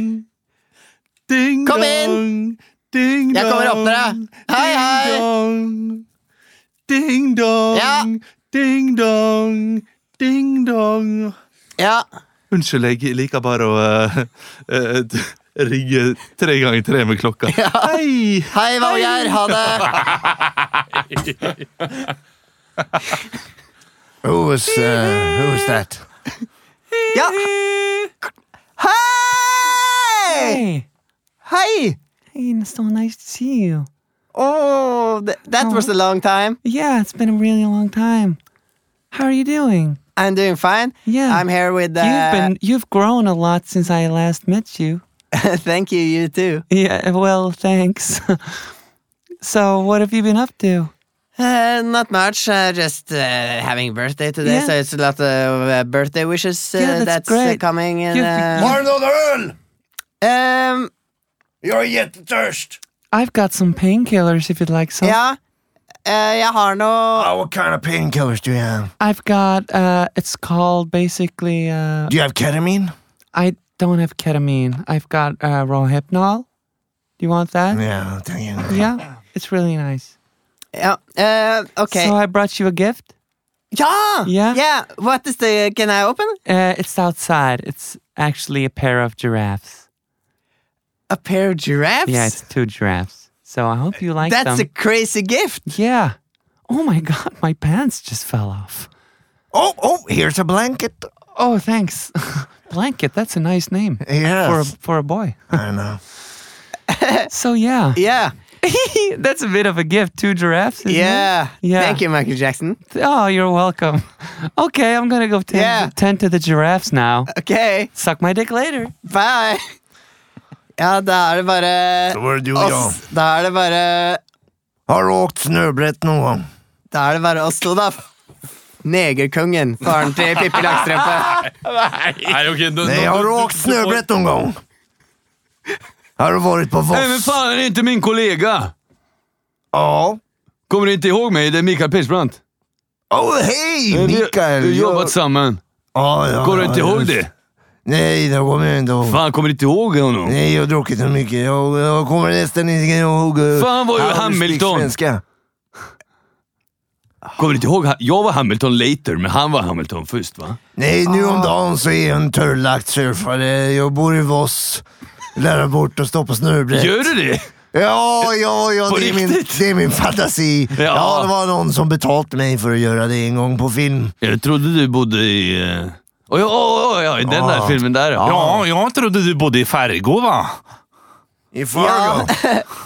Speaker 1: Ding
Speaker 2: Kom inn!
Speaker 1: Ding
Speaker 2: Jeg kommer og åpner deg. Hei, hei!
Speaker 1: dong. Ding dong.
Speaker 2: Ja.
Speaker 1: Ding dong. Ding dong.
Speaker 2: Ja.
Speaker 1: Unnskyld, jeg liker bare å eh, eh, ringe tre ganger tre med klokka. Hei!
Speaker 2: Hei, Valgeir. Ha det.
Speaker 4: Who was, uh, who was that?
Speaker 2: Ja. Hei! Hei!
Speaker 7: Hey, it's so nice to see you.
Speaker 2: Oh, th- that was a long time.
Speaker 7: Yeah, it's been a really long time. How are you doing?
Speaker 2: I'm doing fine.
Speaker 7: Yeah.
Speaker 2: I'm here with uh,
Speaker 7: you've been you've grown a lot since I last met you.
Speaker 2: Thank you, you too.
Speaker 7: [LAUGHS] Yeah, well, thanks. so, what have you been up to?
Speaker 2: Uh, not much. Uh, just uh, having birthday today,
Speaker 7: Yeah.
Speaker 2: so it's a lot of uh, birthday wishes uh,
Speaker 7: Yeah, that's
Speaker 2: that's, uh,
Speaker 7: great.
Speaker 2: coming. And,
Speaker 7: You-
Speaker 2: uh,
Speaker 6: Har du noen øl?
Speaker 2: um,
Speaker 6: Jeg har jättetørst.
Speaker 7: I've got some painkillers if you'd like some.
Speaker 2: ja, eh, jeg har noe
Speaker 4: Oh, what kind of painkillers do you have?
Speaker 7: I've got, uh, it's called basically, uh,
Speaker 4: Do you have ketamine?
Speaker 7: I don't have ketamine. I've got, uh, Rohypnol. Do you want that?
Speaker 4: Yeah, do you?
Speaker 7: Yeah, it's really nice.
Speaker 2: ja, eh, Ok.
Speaker 7: So I brought you a gift.
Speaker 2: ja!
Speaker 7: Yeah.
Speaker 2: Yeah, What is the Can I open?
Speaker 7: Uh, it's outside. It's actually a pair of giraffes.
Speaker 2: A pair of giraffes?
Speaker 7: Yeah, it's two giraffes. So I hope you like
Speaker 2: That's a
Speaker 7: them.
Speaker 2: crazy gift.
Speaker 7: yeah. Oh my god, my pants just fell off.
Speaker 4: Oh, oh, here's a blanket.
Speaker 7: Oh, thanks. [LAUGHS] Blanket, that's a nice name for a,
Speaker 4: Yes,
Speaker 7: for a boy.
Speaker 4: [LAUGHS] I know.
Speaker 7: [LAUGHS] So yeah. [LAUGHS]
Speaker 2: Yeah.
Speaker 7: that's a bit of a gift, two giraffes. isn't it?
Speaker 2: Yeah.
Speaker 7: Mm. Yeah.
Speaker 2: Thank you, Michael Jackson.
Speaker 7: Oh, you're welcome. Okay, I'm going to go tend,
Speaker 2: Yeah.
Speaker 7: tend to the giraffes now.
Speaker 2: Ok,
Speaker 7: Suck my dick later.
Speaker 2: bye. Ja, da er det bare
Speaker 4: Hvor er du, Jan?
Speaker 2: oss. Da er det bare
Speaker 4: Har du åkt snøbrett noen gang?
Speaker 2: Da er det bare oss to, da. Negerkongen. Faren til Pippi Langstrømpe.
Speaker 1: Nei, ok, nå-
Speaker 4: Nei,
Speaker 1: nå-
Speaker 4: har du åkt snøbrett noen gang? Har du vært på
Speaker 3: men
Speaker 4: Voss?
Speaker 3: faen, det er ikke min kollega!
Speaker 4: Ja.
Speaker 3: Kommer du ikke ihåg meg? Det er Mikael Persbrandt. Eh,
Speaker 4: Oh, hei,
Speaker 3: Vi-
Speaker 4: Mikael! Ah,
Speaker 3: Vi
Speaker 4: Ja,
Speaker 3: jobbet sammen.
Speaker 4: ja, ja,
Speaker 3: Kommer du ikke ihåg
Speaker 4: just.
Speaker 3: det?
Speaker 4: Nej, det kommer jag inte ihåg.
Speaker 3: Faen, kommer du ikke ihåg honom?
Speaker 4: Nej, jag har druckit så mycket. Jag, jag kommer nästan inte ihåg. eh,
Speaker 3: Fan, vad är
Speaker 4: hur du
Speaker 3: Hamilton?
Speaker 4: speak Svenska.
Speaker 3: Kommer du ikke ihåg? Jeg var Hamilton later, men han var Hamilton først, va?
Speaker 4: Nej, nu
Speaker 2: Ah.
Speaker 4: om dagen så är jag en törrlagt surfare. Jag bor i Voss. Lära bort att stå på snöbrett.
Speaker 3: Gjør du det?
Speaker 4: Ja, ja, ja,
Speaker 3: På
Speaker 4: det är, min,
Speaker 3: riktigt?
Speaker 4: det är min fantasi. Ja.
Speaker 3: Ja.
Speaker 4: det var någon som betalt mig för att göra det en gång på film.
Speaker 3: Jeg trodde du bodde i eh, Å ja, å, å, ja, i den der filmen der, ja.
Speaker 1: Ja, jeg trodde du bodde i Fergo, va?
Speaker 4: I Fargo.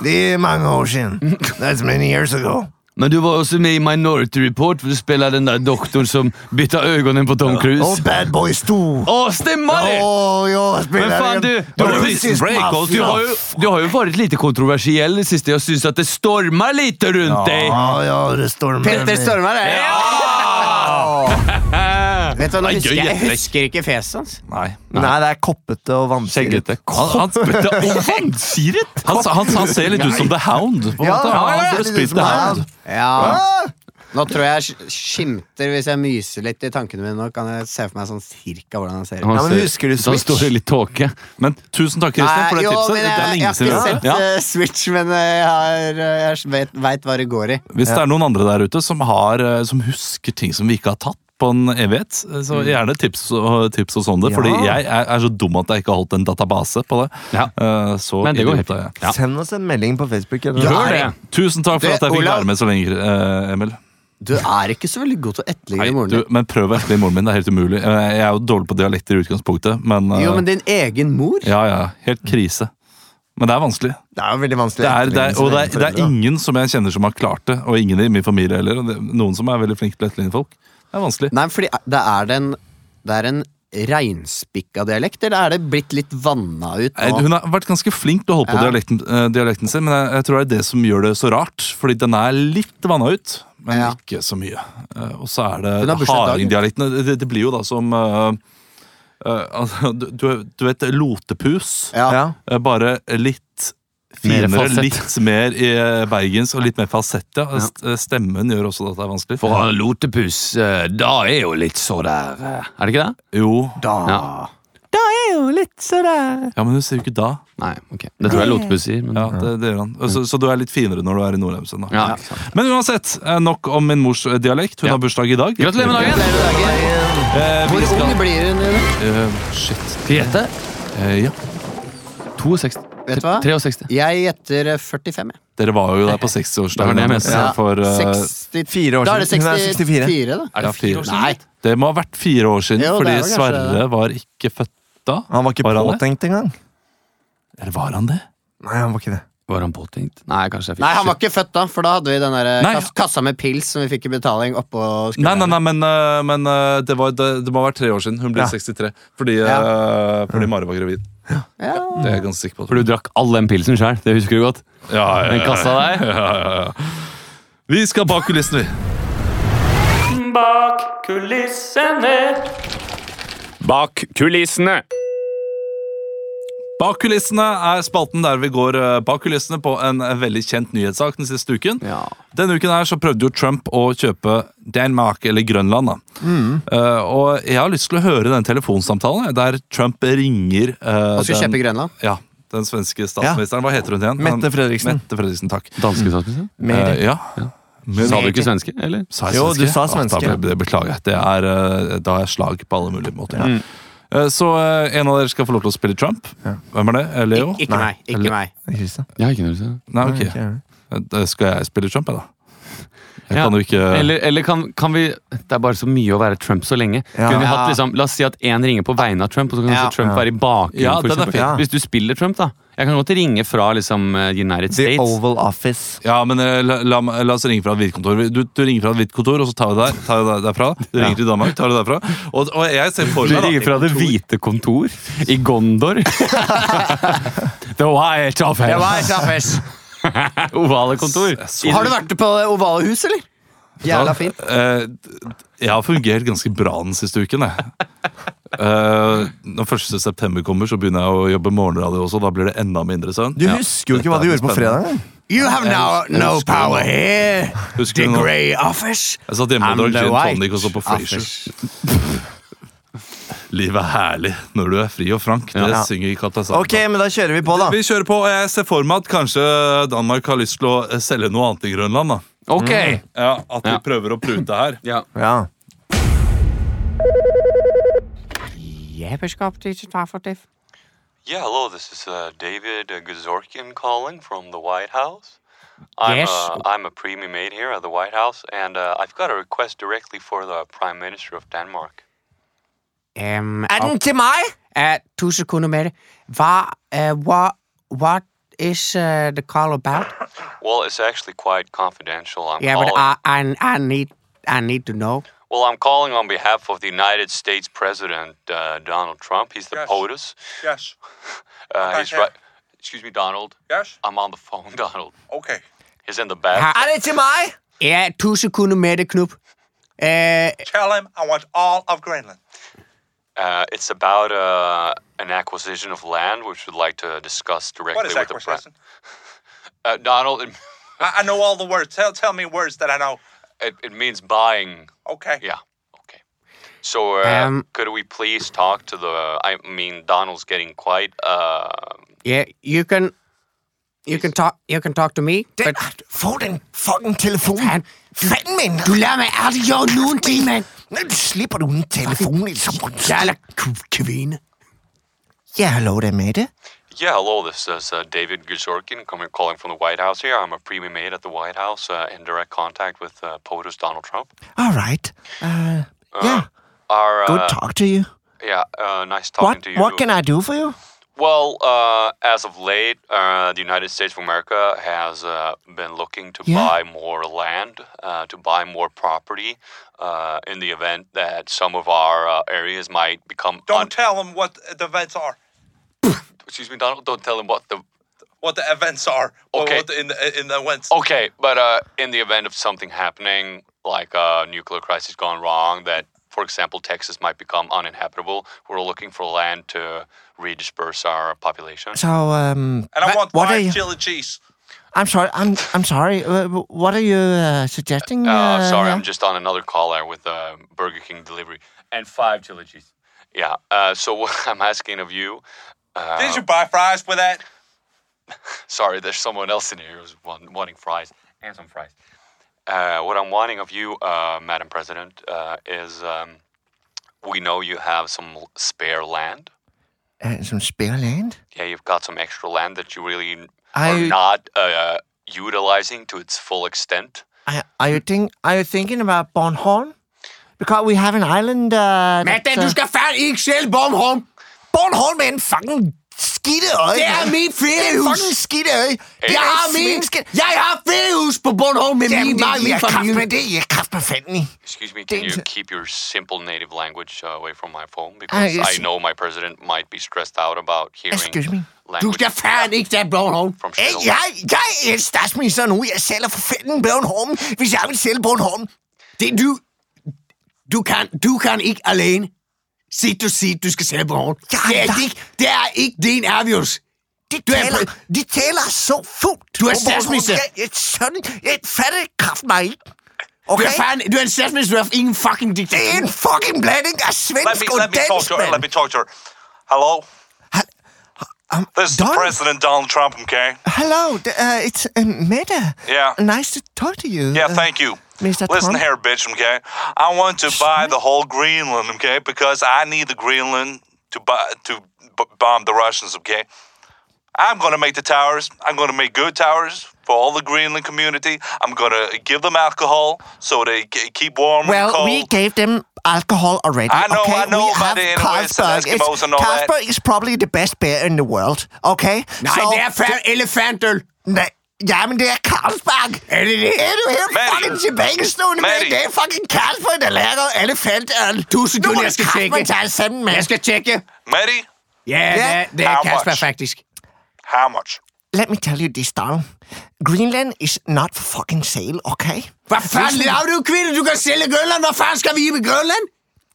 Speaker 4: Det är många år sedan. That's many years ago.
Speaker 3: Men du var også med i Minority Report, for du spilte den der doktoren som bytta øynene på Tom Cruise.
Speaker 4: Och Oh, Bad Boys Oh, 2.
Speaker 3: Å, stemmer det!
Speaker 4: Åh, jag spelar
Speaker 3: Men fan,
Speaker 4: en
Speaker 3: du-
Speaker 1: Du har
Speaker 3: Prison
Speaker 4: russisk
Speaker 1: Prison Break og
Speaker 3: Du har, jo, du har jo vært litt kontroversiell i det siste. Jeg syns at det stormer litt rundt deg.
Speaker 4: Ja, ja, det stormar
Speaker 2: Petter
Speaker 4: mig.
Speaker 2: Stormare. [LAUGHS] Vet du hva, nå
Speaker 1: Nei,
Speaker 2: husker
Speaker 1: gøy,
Speaker 2: jeg, jeg
Speaker 1: gjetrekk.
Speaker 2: husker ikke fjeset hans.
Speaker 1: Nei.
Speaker 4: Nei, det er koppete og vanskelig.
Speaker 3: Skjeggete.
Speaker 1: Han, han, spilte, han, han, han ser litt ut som The Hound. På en
Speaker 4: Ja,
Speaker 1: måte.
Speaker 4: ja, ja,
Speaker 1: Han
Speaker 4: det er
Speaker 1: burde
Speaker 4: litt
Speaker 1: spilt
Speaker 4: som
Speaker 1: The
Speaker 4: han.
Speaker 1: Hound.
Speaker 2: Ja. Nå tror jeg jeg sk- skimter hvis jeg myser litt i tankene mine. Nå kan jeg se for meg sånn cirka hvordan han ser ut.
Speaker 3: Han
Speaker 4: Ja, men
Speaker 3: ser-
Speaker 4: husker du
Speaker 3: Han står i litt tåke.
Speaker 1: Men tusen takk, Christian, for det
Speaker 2: Nei, jo,
Speaker 1: tipset.
Speaker 2: men jeg,
Speaker 1: Det er
Speaker 2: jeg
Speaker 1: lenge
Speaker 2: har
Speaker 1: siden. vi
Speaker 2: ikke
Speaker 1: har
Speaker 2: sett
Speaker 1: det. Ja.
Speaker 2: eh, Switch, men eh, jeg, har, eh, jeg vet, vet hva det går i.
Speaker 1: Hvis det er noen andre der ute som, har, eh, som husker ting som vi ikke har tatt på en evighet, eh, så
Speaker 3: Mm.
Speaker 1: gjerne tips, og- eh, tips hos om det. Fordi jeg er, er så dum at jeg ikke har holdt en database på det.
Speaker 3: Ja.
Speaker 1: Eh, Så
Speaker 3: Men det går
Speaker 1: idiot
Speaker 3: helt
Speaker 1: er jeg.
Speaker 3: Ja.
Speaker 4: Send oss en melding på Facebook. Eller?
Speaker 3: Gjør det!
Speaker 1: Tusen takk for
Speaker 2: Det-
Speaker 1: at jeg fikk
Speaker 2: Olav-
Speaker 1: være med så lenge, eh, Emil.
Speaker 2: Du er ikke så veldig god til å
Speaker 1: Nei,
Speaker 2: etterligne moren
Speaker 1: du,
Speaker 2: din.
Speaker 1: men prøv å etterligne moren min. Det er helt umulig. Eh, Jeg er jo dårlig på dialekter i utgangspunktet, men, eh,
Speaker 2: Jo, men din egen mor?
Speaker 1: Ja, ja. Helt krise. Men det er vanskelig.
Speaker 4: Det er jo veldig vanskelig.
Speaker 1: Det er, det er,
Speaker 4: etterligning
Speaker 1: og det
Speaker 4: som
Speaker 1: er, det er
Speaker 4: foreldre, da.
Speaker 1: ingen som jeg kjenner som har klart det, og ingen i min familie heller. og det- Noen som er veldig flinke til å etterligne folk. Det er vanskelig.
Speaker 2: Nei, fordi det er den Det er en reinspikka dialekt, eller er det blitt litt vanna ut
Speaker 1: Nei,
Speaker 2: nå?
Speaker 1: Hun har vært ganske flink til å holde på
Speaker 2: Ja.
Speaker 1: dialekten, eh, dialekten sin, men jeg, jeg tror det er det som gjør det så rart. Fordi den er litt vanna ut, men
Speaker 2: Ja.
Speaker 1: ikke så mye. Eh, Og så er
Speaker 2: Hun
Speaker 1: det
Speaker 2: har bursdag i dag,
Speaker 1: hardingdialekten. Det- Det, det blir jo da som eh, eh, altså, du, du- du vet lotepus,
Speaker 2: Ja.
Speaker 4: Ja.
Speaker 1: eh, bare litt
Speaker 3: Mer
Speaker 1: finere,
Speaker 3: falsett.
Speaker 1: litt mer i eh, bergens og litt mer falsett. Ja. St- eh, Stemmen gjør også at det er vanskelig.
Speaker 3: For han lotepus, eh, da er jo litt så der eh, Er det ikke det?
Speaker 1: Jo,
Speaker 2: Da.
Speaker 3: Ja.
Speaker 7: Da er jo litt sådär.
Speaker 1: ja, men hun sier jo ikke da.
Speaker 3: Nei, ok. Det tror jeg lotepus sier. Men...
Speaker 1: Ja, det, det gjør han. Så, så du er litt finere når du er i Nordheimsund. da.
Speaker 3: Ja, ikke sant.
Speaker 1: Men uansett, eh, nok om min mors eh, dialekt. Hun
Speaker 3: Ja.
Speaker 1: har bursdag i dag.
Speaker 3: Gratulerer med dagen!
Speaker 1: Eh, vi
Speaker 2: Hvor
Speaker 1: skal,
Speaker 2: ung blir hun? Rune?
Speaker 1: eh, shit.
Speaker 3: Fiette?
Speaker 1: Eh, ja.
Speaker 3: 62.
Speaker 2: Vet du hva?
Speaker 3: 63.
Speaker 2: Jeg gjetter eh, 45. jeg.
Speaker 1: Dere var jo der på
Speaker 3: Det var det
Speaker 1: sekstiårsdagen
Speaker 3: jeg
Speaker 1: hennes,
Speaker 3: mente.
Speaker 1: eh, for eh,
Speaker 2: 60
Speaker 4: Fire år
Speaker 2: Da er det
Speaker 4: siden. Hun er
Speaker 2: 64,
Speaker 4: 64.
Speaker 2: da.
Speaker 1: ja, fire år siden.
Speaker 2: Nei.
Speaker 1: Det må ha vært fire år siden,
Speaker 2: Jo, det
Speaker 1: fordi
Speaker 2: er vel kanskje
Speaker 1: Sverre var ikke født da.
Speaker 4: Han var ikke
Speaker 1: Var han det?
Speaker 4: påtenkt engang.
Speaker 1: Eller var han det?
Speaker 4: Nei, han var ikke det.
Speaker 3: Var han påtenkt? Nei, kanskje jeg fikk
Speaker 2: Nei, han var ikke født da, for da hadde vi den der eh,
Speaker 1: Nei.
Speaker 2: kas kassa med pils som vi fikk i betaling oppå
Speaker 1: Nei,
Speaker 2: skulderen.
Speaker 1: nei, nei, men, eh, men eh, det, var, det, det må ha vært tre år siden. Hun ble
Speaker 4: Ja. Mm.
Speaker 1: 63 fordi, eh, fordi Mari var gravid.
Speaker 2: Ja.
Speaker 1: Det er jeg ganske sikker på.
Speaker 3: For du drakk all den pilsen sjøl, det husker du godt?
Speaker 1: [LAUGHS] Ja, ja, ja.
Speaker 3: Den kassa der?
Speaker 1: Ja, ja, ja. Vi skal bak kulissene, vi.
Speaker 8: Bak kulissene.
Speaker 7: Bak kulissene!
Speaker 1: Bak kulissene er spalten der vi går eh, bak kulissene på en eh, veldig kjent nyhetssak den siste uken.
Speaker 7: Ja.
Speaker 1: Denne uken her så prøvde jo Trump å kjøpe Danmark, eller Grønland, da. Eh, og jeg har lyst til å høre den telefonsamtalen jeg, der Trump ringer eh,
Speaker 9: Han skulle
Speaker 1: den-
Speaker 9: kjøpe Grønland.
Speaker 1: Ja, den svenske statsministeren. Hva heter hun igjen?
Speaker 2: Mette
Speaker 1: Han-
Speaker 2: Fredriksen.
Speaker 1: Mette Fredriksen, takk.
Speaker 7: Danske statsminister?
Speaker 2: Mer.
Speaker 1: Eh, ja. Men-
Speaker 7: Sa du ikke svenske, eller?
Speaker 1: Sa jeg
Speaker 2: Jo,
Speaker 1: svenske?
Speaker 2: du sa
Speaker 1: Ah,
Speaker 2: svenske.
Speaker 1: da ble- det beklager jeg. Det er, eh, da er slag på alle mulige måter. Eh, Så eh, en av dere skal få lov til å spille Trump. Hvem er det? Eh, Leo?
Speaker 9: Ikke meg. ikke meg
Speaker 2: Kristian.
Speaker 7: Jeg har ikke noe å si.
Speaker 1: Nei, ok.
Speaker 2: Ikke jeg.
Speaker 1: Eh, da Skal jeg spille Trump, jeg, da? Jeg
Speaker 7: Ja,
Speaker 1: kan jo ikke
Speaker 7: Eller, eller kan, kan vi Det er bare så mye å være Trump så lenge.
Speaker 2: Ja.
Speaker 7: Kunne vi hatt liksom, La oss si at én ringer på vegne av Trump, og så kan
Speaker 9: Ja.
Speaker 7: kanskje Trump være i bakgrunnen.
Speaker 1: Ja,
Speaker 7: for
Speaker 1: den er
Speaker 7: eksempel.
Speaker 1: fin.
Speaker 2: Ja.
Speaker 7: Hvis du spiller Trump, da. Jeg kan godt ringe fra liksom, eh, United
Speaker 2: The
Speaker 7: States.
Speaker 2: Oval Office.
Speaker 1: Ja, men eh, la, la, la oss ringe fra et hvitt kontor. Du, du ringer fra et hvitt kontor, og så tar vi der, tar vi der, derfra. Du ringer til Danmark, tar du derfra. Og, og jeg ser for
Speaker 7: Du
Speaker 1: meg da
Speaker 7: ringer fra Det hvite kontor i Gondor. [LAUGHS] The White
Speaker 9: Det
Speaker 7: Office.
Speaker 9: var Chaffers.
Speaker 7: Ovale kontor.
Speaker 9: Har du vært på det ovale hus, eller? Jævla fint.
Speaker 1: Eh, Jeg har fungert ganske bra den siste uken, jeg. Eh, når 1. september kommer, så begynner jeg å jobbe morgenradio også. Da blir det enda mindre søvn.
Speaker 2: Du husker jo ikke hva du gjorde på fredag. engang.
Speaker 9: You have now no
Speaker 1: husker
Speaker 9: power here.
Speaker 1: Husker du
Speaker 9: The
Speaker 1: nå?
Speaker 9: Grey Office.
Speaker 1: Jeg satt hjemme og
Speaker 9: I'm
Speaker 1: drakk
Speaker 9: the
Speaker 1: gin
Speaker 9: white
Speaker 1: tonic og så på Frasier.
Speaker 9: office.
Speaker 1: Livet er herlig når du er fri og frank. Det
Speaker 2: Ja.
Speaker 1: synger Katja Sandberg.
Speaker 2: Ok, men da kjører vi på, da.
Speaker 1: Vi kjører på, og jeg ser for meg at kanskje Danmark har lyst til å eh, selge noe annet i Grønland. da
Speaker 7: Ok!
Speaker 1: ja, At vi
Speaker 7: Ja.
Speaker 1: prøver å prute her.
Speaker 2: Ja.
Speaker 3: Yeah, hello. This is uh, David uh, Gazorkian calling from the White House. I'm,
Speaker 10: Yes.
Speaker 3: uh, I'm a premium aide here at the White House, and uh, I've got a request directly for the Prime Minister of Denmark.
Speaker 9: Um,
Speaker 2: Er den til meg?
Speaker 9: Uh, to sekunder mer. Hva, uh, what, what is uh, the call about?
Speaker 3: Well, it's actually quite confidential. I'm
Speaker 9: Yeah,
Speaker 3: calling.
Speaker 9: but I, I, eh, I need, I need to know.
Speaker 3: Well, I'm calling on behalf of the United States President uh, Donald Trump. He's the POTUS.
Speaker 11: Yes.
Speaker 3: Uh, he's
Speaker 11: here.
Speaker 3: right. Excuse me, Donald.
Speaker 11: Yes.
Speaker 3: I'm on the phone, [LAUGHS] Donald.
Speaker 11: Okay.
Speaker 3: He's in the back.
Speaker 2: Er det til meg?
Speaker 9: Yeah, to sekunder mer, Knop. Uh,
Speaker 11: Tell him I want all of Greenland.
Speaker 3: Uh, it's about uh, an acquisition of land, which we'd like to discuss directly
Speaker 11: What is
Speaker 3: with the Prime.
Speaker 11: acquisition?
Speaker 3: Uh, Donald, it,
Speaker 11: I, I know all the words. Tell tell me words that I know.
Speaker 3: it, it means buying.
Speaker 11: Okay.
Speaker 3: Yeah. Okay. So, uh,
Speaker 9: Um,
Speaker 3: could we please talk to the? I mean, Donald's getting quite. Uh,
Speaker 9: yeah, you can, you can talk, you can talk to me.
Speaker 2: Det,
Speaker 9: But
Speaker 2: få den fucking telefonen! Fanden min!
Speaker 9: du lader mig aldrig gøre nogen ting, mand.
Speaker 2: Slipper du en telefon i samfunnet?
Speaker 9: Jævla k- kvinde.
Speaker 2: Ja, hallo, det er Mette.
Speaker 3: yeah. Hello. This is uh, David Gazorkin. coming calling from the White House here. I'm a premium aide at the White House uh, in direct contact with uh, POTUS Donald Trump.
Speaker 2: All right. Uh, yeah,
Speaker 3: Our, uh,
Speaker 2: good talk to you.
Speaker 3: Yeah. Uh, nice talking
Speaker 2: What,
Speaker 3: to you.
Speaker 2: what can I do for you?
Speaker 3: Well, uh, as of late, uh, the United States of America has uh, been looking to
Speaker 2: Yeah.
Speaker 3: buy more land, uh, to buy more property, uh, in the event that some of our uh, areas might become.
Speaker 11: Don't
Speaker 3: un-
Speaker 11: tell him what the events are.
Speaker 3: excuse me, Donald. Don't tell him what the.
Speaker 11: What the events are. What-
Speaker 3: Okay.
Speaker 11: What, the- in the in the events.
Speaker 3: Okay, but uh, in the event of something happening, like a nuclear crisis gone wrong, that, for example, Texas might become uninhabitable, we're looking for land to redisperse our population. Uh,
Speaker 2: So, um,
Speaker 11: And I want
Speaker 2: what are
Speaker 11: five
Speaker 2: you?
Speaker 11: chili cheese.
Speaker 2: I'm sorry. I'm I'm sorry. Uh, what are you uh, suggesting?
Speaker 3: Uh, sorry, I'm
Speaker 2: here?
Speaker 3: just on another call there with uh, Burger King delivery and five chili cheese. Yeah. Uh, so [LAUGHS] what I'm asking of you, Oh.
Speaker 11: Did you buy fries with that?
Speaker 3: sorry, there's someone else in here who's want, wanting fries and some fries. Uh, what I'm wanting of you, uh, Madam President, uh, is um, we know you have some l- spare land.
Speaker 2: Uh, some spare land.
Speaker 3: Yeah, you've got some extra land that you really n- are
Speaker 2: I-
Speaker 3: not uh, utilizing to its full extent.
Speaker 2: Are, are you think Are you thinking about Bornholm? Because we have an island. Uh,
Speaker 9: Mette,
Speaker 2: that's, uh,
Speaker 9: du skal færdig ikke selv, Bornholm.
Speaker 2: Bornholm er en fucking s-
Speaker 4: skidte øje.
Speaker 8: Det er min
Speaker 4: Det er
Speaker 8: feriehus!
Speaker 4: fucking skidte øje.
Speaker 8: Jeg har, min, jeg har feriehus på Bornholm med min,
Speaker 4: det
Speaker 8: min,
Speaker 4: er
Speaker 8: min familie.
Speaker 4: kraftmen, det er jeg kraftmen fanden i.
Speaker 3: Excuse me, can you
Speaker 4: Danger.
Speaker 3: keep your simple native language uh, away from my phone? Because
Speaker 4: yes.
Speaker 3: I know my president might be stressed out about hearing
Speaker 4: Excuse me.
Speaker 8: Du
Speaker 3: language
Speaker 8: skal faen ikke til Bornholm.
Speaker 3: from
Speaker 4: Hey,
Speaker 3: Shell.
Speaker 4: jeg, jeg er statsminister nu. Jeg sælger for fanden Bornholm, hvis jeg vil sælge Bornholm.
Speaker 8: Det du, du kan, du kan ikke alene sige, du siger, du skal sælge Bornholm.
Speaker 4: Ja,
Speaker 8: det, er
Speaker 4: ja.
Speaker 8: ikke, det er ikke din avgjørelse.
Speaker 4: De
Speaker 8: Du er
Speaker 4: taler, de taler så fuldt.
Speaker 8: Du er
Speaker 4: på Bornholm.
Speaker 8: statsminister.
Speaker 4: Jeg, jeg, sådan, jeg fatter kraft mig ikke.
Speaker 8: Du
Speaker 4: Okay?
Speaker 8: er, fan, du er en statsminister, du er ingen fucking
Speaker 4: Det er en
Speaker 8: diktator.
Speaker 4: fucking blanding af
Speaker 11: Let
Speaker 4: svensk
Speaker 11: me
Speaker 4: og
Speaker 11: let me talk
Speaker 4: dansk,
Speaker 11: to her. Let
Speaker 4: mand.
Speaker 11: me talk to her. Hello,
Speaker 4: Um,
Speaker 11: this is
Speaker 4: Don,
Speaker 11: President Donald Trump. Okay.
Speaker 4: hello, d- uh, it's uh, Mette.
Speaker 11: Yeah.
Speaker 4: Nice to talk to you.
Speaker 11: Yeah,
Speaker 4: Uh,
Speaker 11: thank you.
Speaker 4: Mr.
Speaker 11: Listen
Speaker 4: Trump?
Speaker 11: here, bitch, okay? Uh, I want to buy the whole Greenland, okay? Because I need the Greenland to buy to b- bomb the Russians, okay? I'm gonna make the towers. I'm gonna make good towers for all the Greenland community. I'm gonna give them alcohol so they c- keep warm
Speaker 4: Well,
Speaker 11: and cold.
Speaker 4: we gave them alcohol already.
Speaker 11: I know,
Speaker 4: okay?
Speaker 11: I know,
Speaker 4: we
Speaker 11: but
Speaker 4: have
Speaker 11: anyways, it's
Speaker 4: Carlsberg.
Speaker 11: Eskimos
Speaker 4: It's-
Speaker 11: and all that.
Speaker 4: Carlsberg is probably the best beer in the world. Okay?
Speaker 8: Nej,
Speaker 4: So-
Speaker 8: det er fa- elefantøl.
Speaker 4: Nej, jamen det er Carlsberg. Er det det? Er du helt
Speaker 11: Mary.
Speaker 4: fucking tilbagestående med?
Speaker 11: Mary.
Speaker 4: Det er fucking Carlsberg, der lager elefantøl.
Speaker 8: Tusind
Speaker 4: Nu
Speaker 8: kroner,
Speaker 4: må
Speaker 8: jeg skal
Speaker 4: Carlsberg
Speaker 8: tjekke.
Speaker 4: tage sammen med.
Speaker 8: Jeg skal tjekke.
Speaker 11: Matty,
Speaker 8: Ja, det er, det er
Speaker 11: How
Speaker 8: Kasper
Speaker 11: much?
Speaker 8: faktisk.
Speaker 11: how much?
Speaker 4: Let me tell you this, darling. Greenland is not for fucking sale, okay?
Speaker 8: Hvad fanden laver du, kvinde? Du kan sælge Grønland. Hvor fanden skal vi i med Grønland?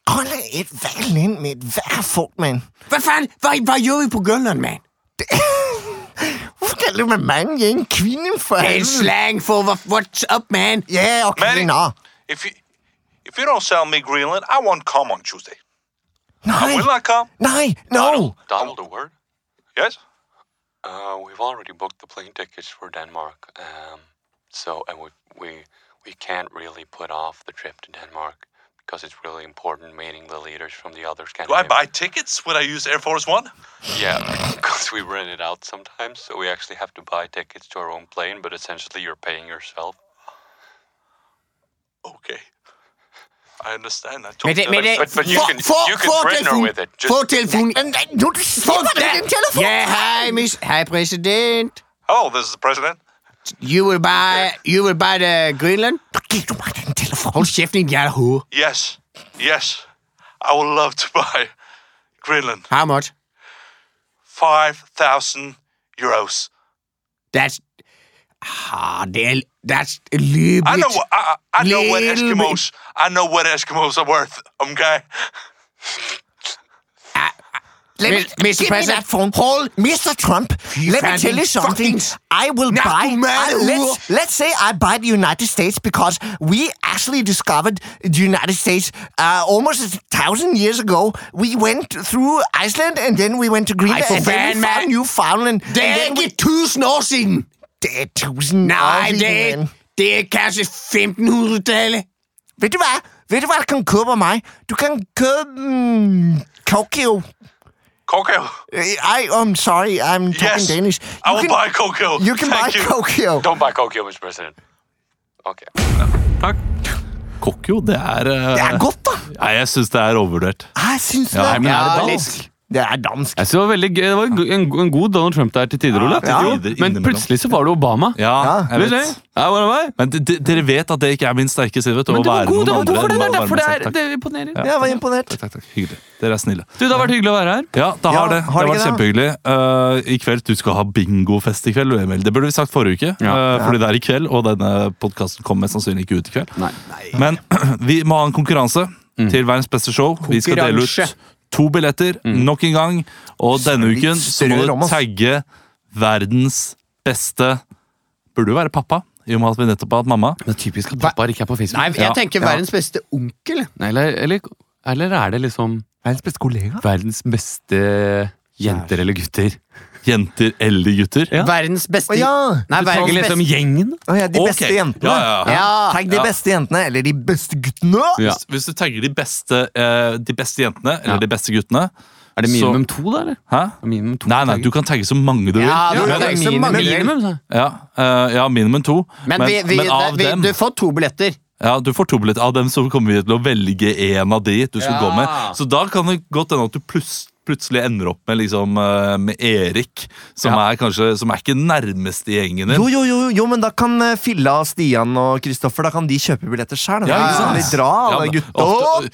Speaker 4: Grønland er et valgland med et værre folk, mand.
Speaker 8: Hvad fanden? Hvad, hvad gjorde vi på Grønland, mand?
Speaker 4: Mm. Hvorfor kalder du mig mand? Jeg er en kvinde, for
Speaker 8: Det er en
Speaker 4: helvede.
Speaker 8: slang for, hvor- what's up, man?
Speaker 4: Ja, yeah, okay,
Speaker 11: Mary.
Speaker 4: nå.
Speaker 11: If you if you don't sell me Greenland, I won't come on Tuesday.
Speaker 4: Nej,
Speaker 11: Will I come?
Speaker 4: nej, no.
Speaker 3: Donald, a word?
Speaker 11: Yes.
Speaker 3: Uh, we've already booked the plane tickets for Denmark. Um, so, and we, we we can't really put off the trip to Denmark because it's really important meeting the leaders from the other
Speaker 11: Do I
Speaker 3: Scandinavian.
Speaker 11: buy tickets when I use Air Force One?
Speaker 3: Yeah, [LAUGHS] because we rent it out sometimes, so we actually have to buy tickets to our own plane. But essentially, you're paying yourself.
Speaker 11: Okay. I understand. I
Speaker 8: Men
Speaker 11: told
Speaker 8: det, men det,
Speaker 3: But- but you
Speaker 8: få-
Speaker 3: can-
Speaker 8: få-
Speaker 3: you can
Speaker 8: få
Speaker 3: threaten her
Speaker 8: telefonen.
Speaker 3: with it. Just-
Speaker 8: Få telefonen.
Speaker 4: Men nej, nu slipper du
Speaker 8: Ja.
Speaker 4: den telefon.
Speaker 8: Ja, hej, miss. Hej, præsident.
Speaker 11: Hello, this is the president.
Speaker 8: You will buy, you will buy the Greenland.
Speaker 4: Nu giver du mig den telefon.
Speaker 8: Hold kæft, din hjerte hoved.
Speaker 11: Yes, yes, I would love to [LAUGHS] buy Greenland.
Speaker 8: How much?
Speaker 11: 5,000 euros.
Speaker 8: That's... Ah, det er, that's a little
Speaker 11: I
Speaker 8: bit...
Speaker 11: know, what- I, I I know what
Speaker 8: Little bit.
Speaker 11: Eskimos, I know what Eskimos are worth, okay?
Speaker 4: Let me,
Speaker 8: Mis- Mr.
Speaker 4: give me
Speaker 8: President.
Speaker 4: that phone. Hold, Mr. Trump. Let me
Speaker 8: fucking
Speaker 4: tell you something.
Speaker 8: fucking
Speaker 4: I will buy.
Speaker 8: narcoman
Speaker 4: I- let's, let's say I buy the United States because we actually discovered the United States uh, almost a thousand years ago. We went through Iceland and then we went to Greenland
Speaker 8: for
Speaker 4: and then we
Speaker 8: fanden,
Speaker 4: found
Speaker 8: mand.
Speaker 4: Newfoundland.
Speaker 8: Det er
Speaker 4: and
Speaker 8: ikke
Speaker 4: then
Speaker 8: tusind år siden.
Speaker 4: we, det er tusind år
Speaker 8: Nej,
Speaker 4: siden,
Speaker 8: det er
Speaker 4: mand.
Speaker 8: ikke... Det er kanskje 1500-tallet.
Speaker 4: Ved du hvad? Ved du hvad, du kan købe af mig? Du kan købe mm, Tokyo. Eh,
Speaker 11: Coco.
Speaker 4: I, I'm sorry, I'm talking
Speaker 11: Yes.
Speaker 4: Danish.
Speaker 11: I
Speaker 4: You
Speaker 11: will
Speaker 4: can-
Speaker 11: buy Coco.
Speaker 4: You can
Speaker 11: Thank
Speaker 4: buy Tokyo.
Speaker 3: Don't buy Kokyo, Mr. President. Okay.
Speaker 1: Kokk, jo. Det er, eh,
Speaker 4: Det er godt, da.
Speaker 1: Nei, jeg syns det er overvurdert.
Speaker 4: Ej, Jeg syns
Speaker 1: Ja,
Speaker 4: det.
Speaker 1: men er det
Speaker 4: litt.
Speaker 1: dansk?
Speaker 4: Det er dansk.
Speaker 7: Jeg synes det var veldig gøy. Det var en, go- en, go- en god Donald Trump der til tider, Olav.
Speaker 1: til
Speaker 7: Jo,
Speaker 1: tider,
Speaker 7: Men
Speaker 1: innimellom.
Speaker 7: plutselig så var det Obama.
Speaker 1: Ja, jeg
Speaker 3: er
Speaker 7: Vet du det?
Speaker 1: vet.
Speaker 7: Ja, hvor det var.
Speaker 1: Men de, de, dere vet at det ikke er min sterke side. vet du,
Speaker 7: Men
Speaker 1: å
Speaker 7: du var
Speaker 1: være
Speaker 7: god, det
Speaker 1: noen
Speaker 7: var god
Speaker 1: andre
Speaker 7: for det.
Speaker 1: enn å
Speaker 7: Det er derfor
Speaker 1: være meg selv.
Speaker 7: det er,
Speaker 1: Takk.
Speaker 7: det imponerer.
Speaker 4: Jeg var imponert.
Speaker 1: Takk, takk, takk. Hyggelig. Dere er snille.
Speaker 7: Du, det har vært hyggelig å være her.
Speaker 1: Ja, det har det.
Speaker 4: Ja, har
Speaker 1: det
Speaker 4: det
Speaker 1: har vært
Speaker 4: ikke
Speaker 1: kjempehyggelig. Eh, I kveld, Du skal ha bingofest i kveld, du, Emil. Det burde vi sagt forrige uke.
Speaker 7: Ja.
Speaker 1: eh, fordi det er i kveld, og denne podkasten kommer mest sannsynlig ikke ut i kveld.
Speaker 7: Nei. Mm.
Speaker 1: Men [CLEARS THROAT] vi må ha en konkurranse til verdens beste show. Vi skal dele
Speaker 8: Konkurranse.
Speaker 1: ut to billetter
Speaker 7: Mm.
Speaker 1: nok en gang. Og denne uken så må
Speaker 4: strør om
Speaker 1: du
Speaker 4: oss.
Speaker 1: tagge verdens beste Burde jo være pappa, i og med at vi nettopp har hatt mamma.
Speaker 7: Det er typisk at pappaer ikke er på Facebook.
Speaker 8: Nei, jeg
Speaker 1: Ja,
Speaker 8: tenker verdens beste onkel.
Speaker 7: Nei, eller, eller, eller er det liksom
Speaker 4: Verdens beste kollega.
Speaker 7: verdens beste jenter eller gutter?
Speaker 1: Jenter eller gutter.
Speaker 7: Ja.
Speaker 8: Verdens beste
Speaker 4: Å ja!
Speaker 8: Nei, verdens
Speaker 7: Ikke
Speaker 8: beste
Speaker 7: liksom gjengen?
Speaker 4: Å ja, de
Speaker 1: Ok.
Speaker 4: beste jentene.
Speaker 1: Ja, ja, ja.
Speaker 8: Ja.
Speaker 4: Tagg de beste jentene, eller de beste guttene.
Speaker 7: Ja.
Speaker 1: Hvis- Hvis du tagger de beste, eh, de beste jentene, eller
Speaker 7: Ja.
Speaker 1: de beste guttene
Speaker 7: Er det
Speaker 1: Så-
Speaker 7: minimum to, da? eller?
Speaker 1: Hæ?
Speaker 7: Er det Minimum to
Speaker 1: Nei, nei, du kan tagge så mange du vil.
Speaker 8: Ja,
Speaker 1: Ja,
Speaker 8: du
Speaker 1: men,
Speaker 8: kan-
Speaker 4: så
Speaker 7: minimum,
Speaker 4: mange-
Speaker 7: minimum, sa jeg.
Speaker 1: ja, eh, ja minimum to.
Speaker 8: Men, vi, vi,
Speaker 1: men av
Speaker 8: vi,
Speaker 1: dem
Speaker 8: du får to billetter.
Speaker 1: Ja, du får to billetter. Av dem så kommer vi til å velge en av de du skal
Speaker 7: Ja.
Speaker 1: gå med. Så da kan det godt hende at du pluss- plutselig ender opp med, liksom, eh, med Erik, som er kanskje Som er ikke den nærmeste i gjengen din.
Speaker 4: Jo, jo, jo, jo, men da kan eh, Filla, Stian og Kristoffer Da kan de kjøpe billetter sjøl.
Speaker 1: Ja, ikke sant?
Speaker 4: de dra,
Speaker 1: Ja,
Speaker 4: alle
Speaker 1: men
Speaker 4: gutta.
Speaker 1: ofte-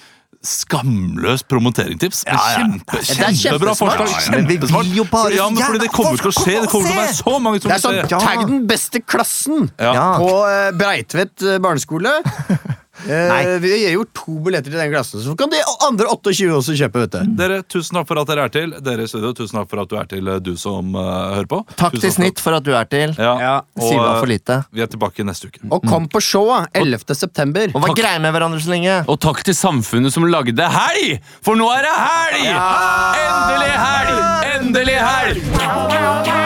Speaker 1: Skamløst promoteringstips. Men Kjempe,
Speaker 4: Det er
Speaker 1: kjempebra
Speaker 4: kjempesmart.
Speaker 1: forslag.
Speaker 4: Men vi
Speaker 1: Kjempesmart.
Speaker 4: vil jo bare
Speaker 1: Fordi- ja, men fordi
Speaker 4: gjerne
Speaker 1: det kommer til å
Speaker 4: folk
Speaker 1: skje. Det kommer til å være
Speaker 4: se.
Speaker 1: så mange som
Speaker 2: Det er sånn,
Speaker 1: vil se.
Speaker 4: Ja.
Speaker 2: Tagg den beste klassen
Speaker 1: Ja.
Speaker 2: på eh, Breitvet eh, barneskole. Eh,
Speaker 4: Nei.
Speaker 2: vi gir jo to billetter til den klassen, så kan de andre 28 også kjøpe. vet du
Speaker 1: Dere, tusen takk for at dere er til. Dere i studio, tusen takk for at du er til, eh, du som eh, hører på.
Speaker 4: Takk
Speaker 1: Tusen
Speaker 4: til Snitt for at du er til.
Speaker 1: Ja,
Speaker 2: Ja,
Speaker 1: og
Speaker 4: Silva for
Speaker 1: eh,
Speaker 4: lite.
Speaker 1: vi er tilbake neste uke.
Speaker 2: Og kom på show ah, 11. september.
Speaker 4: Og var greie med hverandre så lenge.
Speaker 3: Og takk til samfunnet som lagde helg! For nå er det helg! Endelig helg! Endelig helg!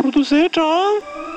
Speaker 8: Produsert av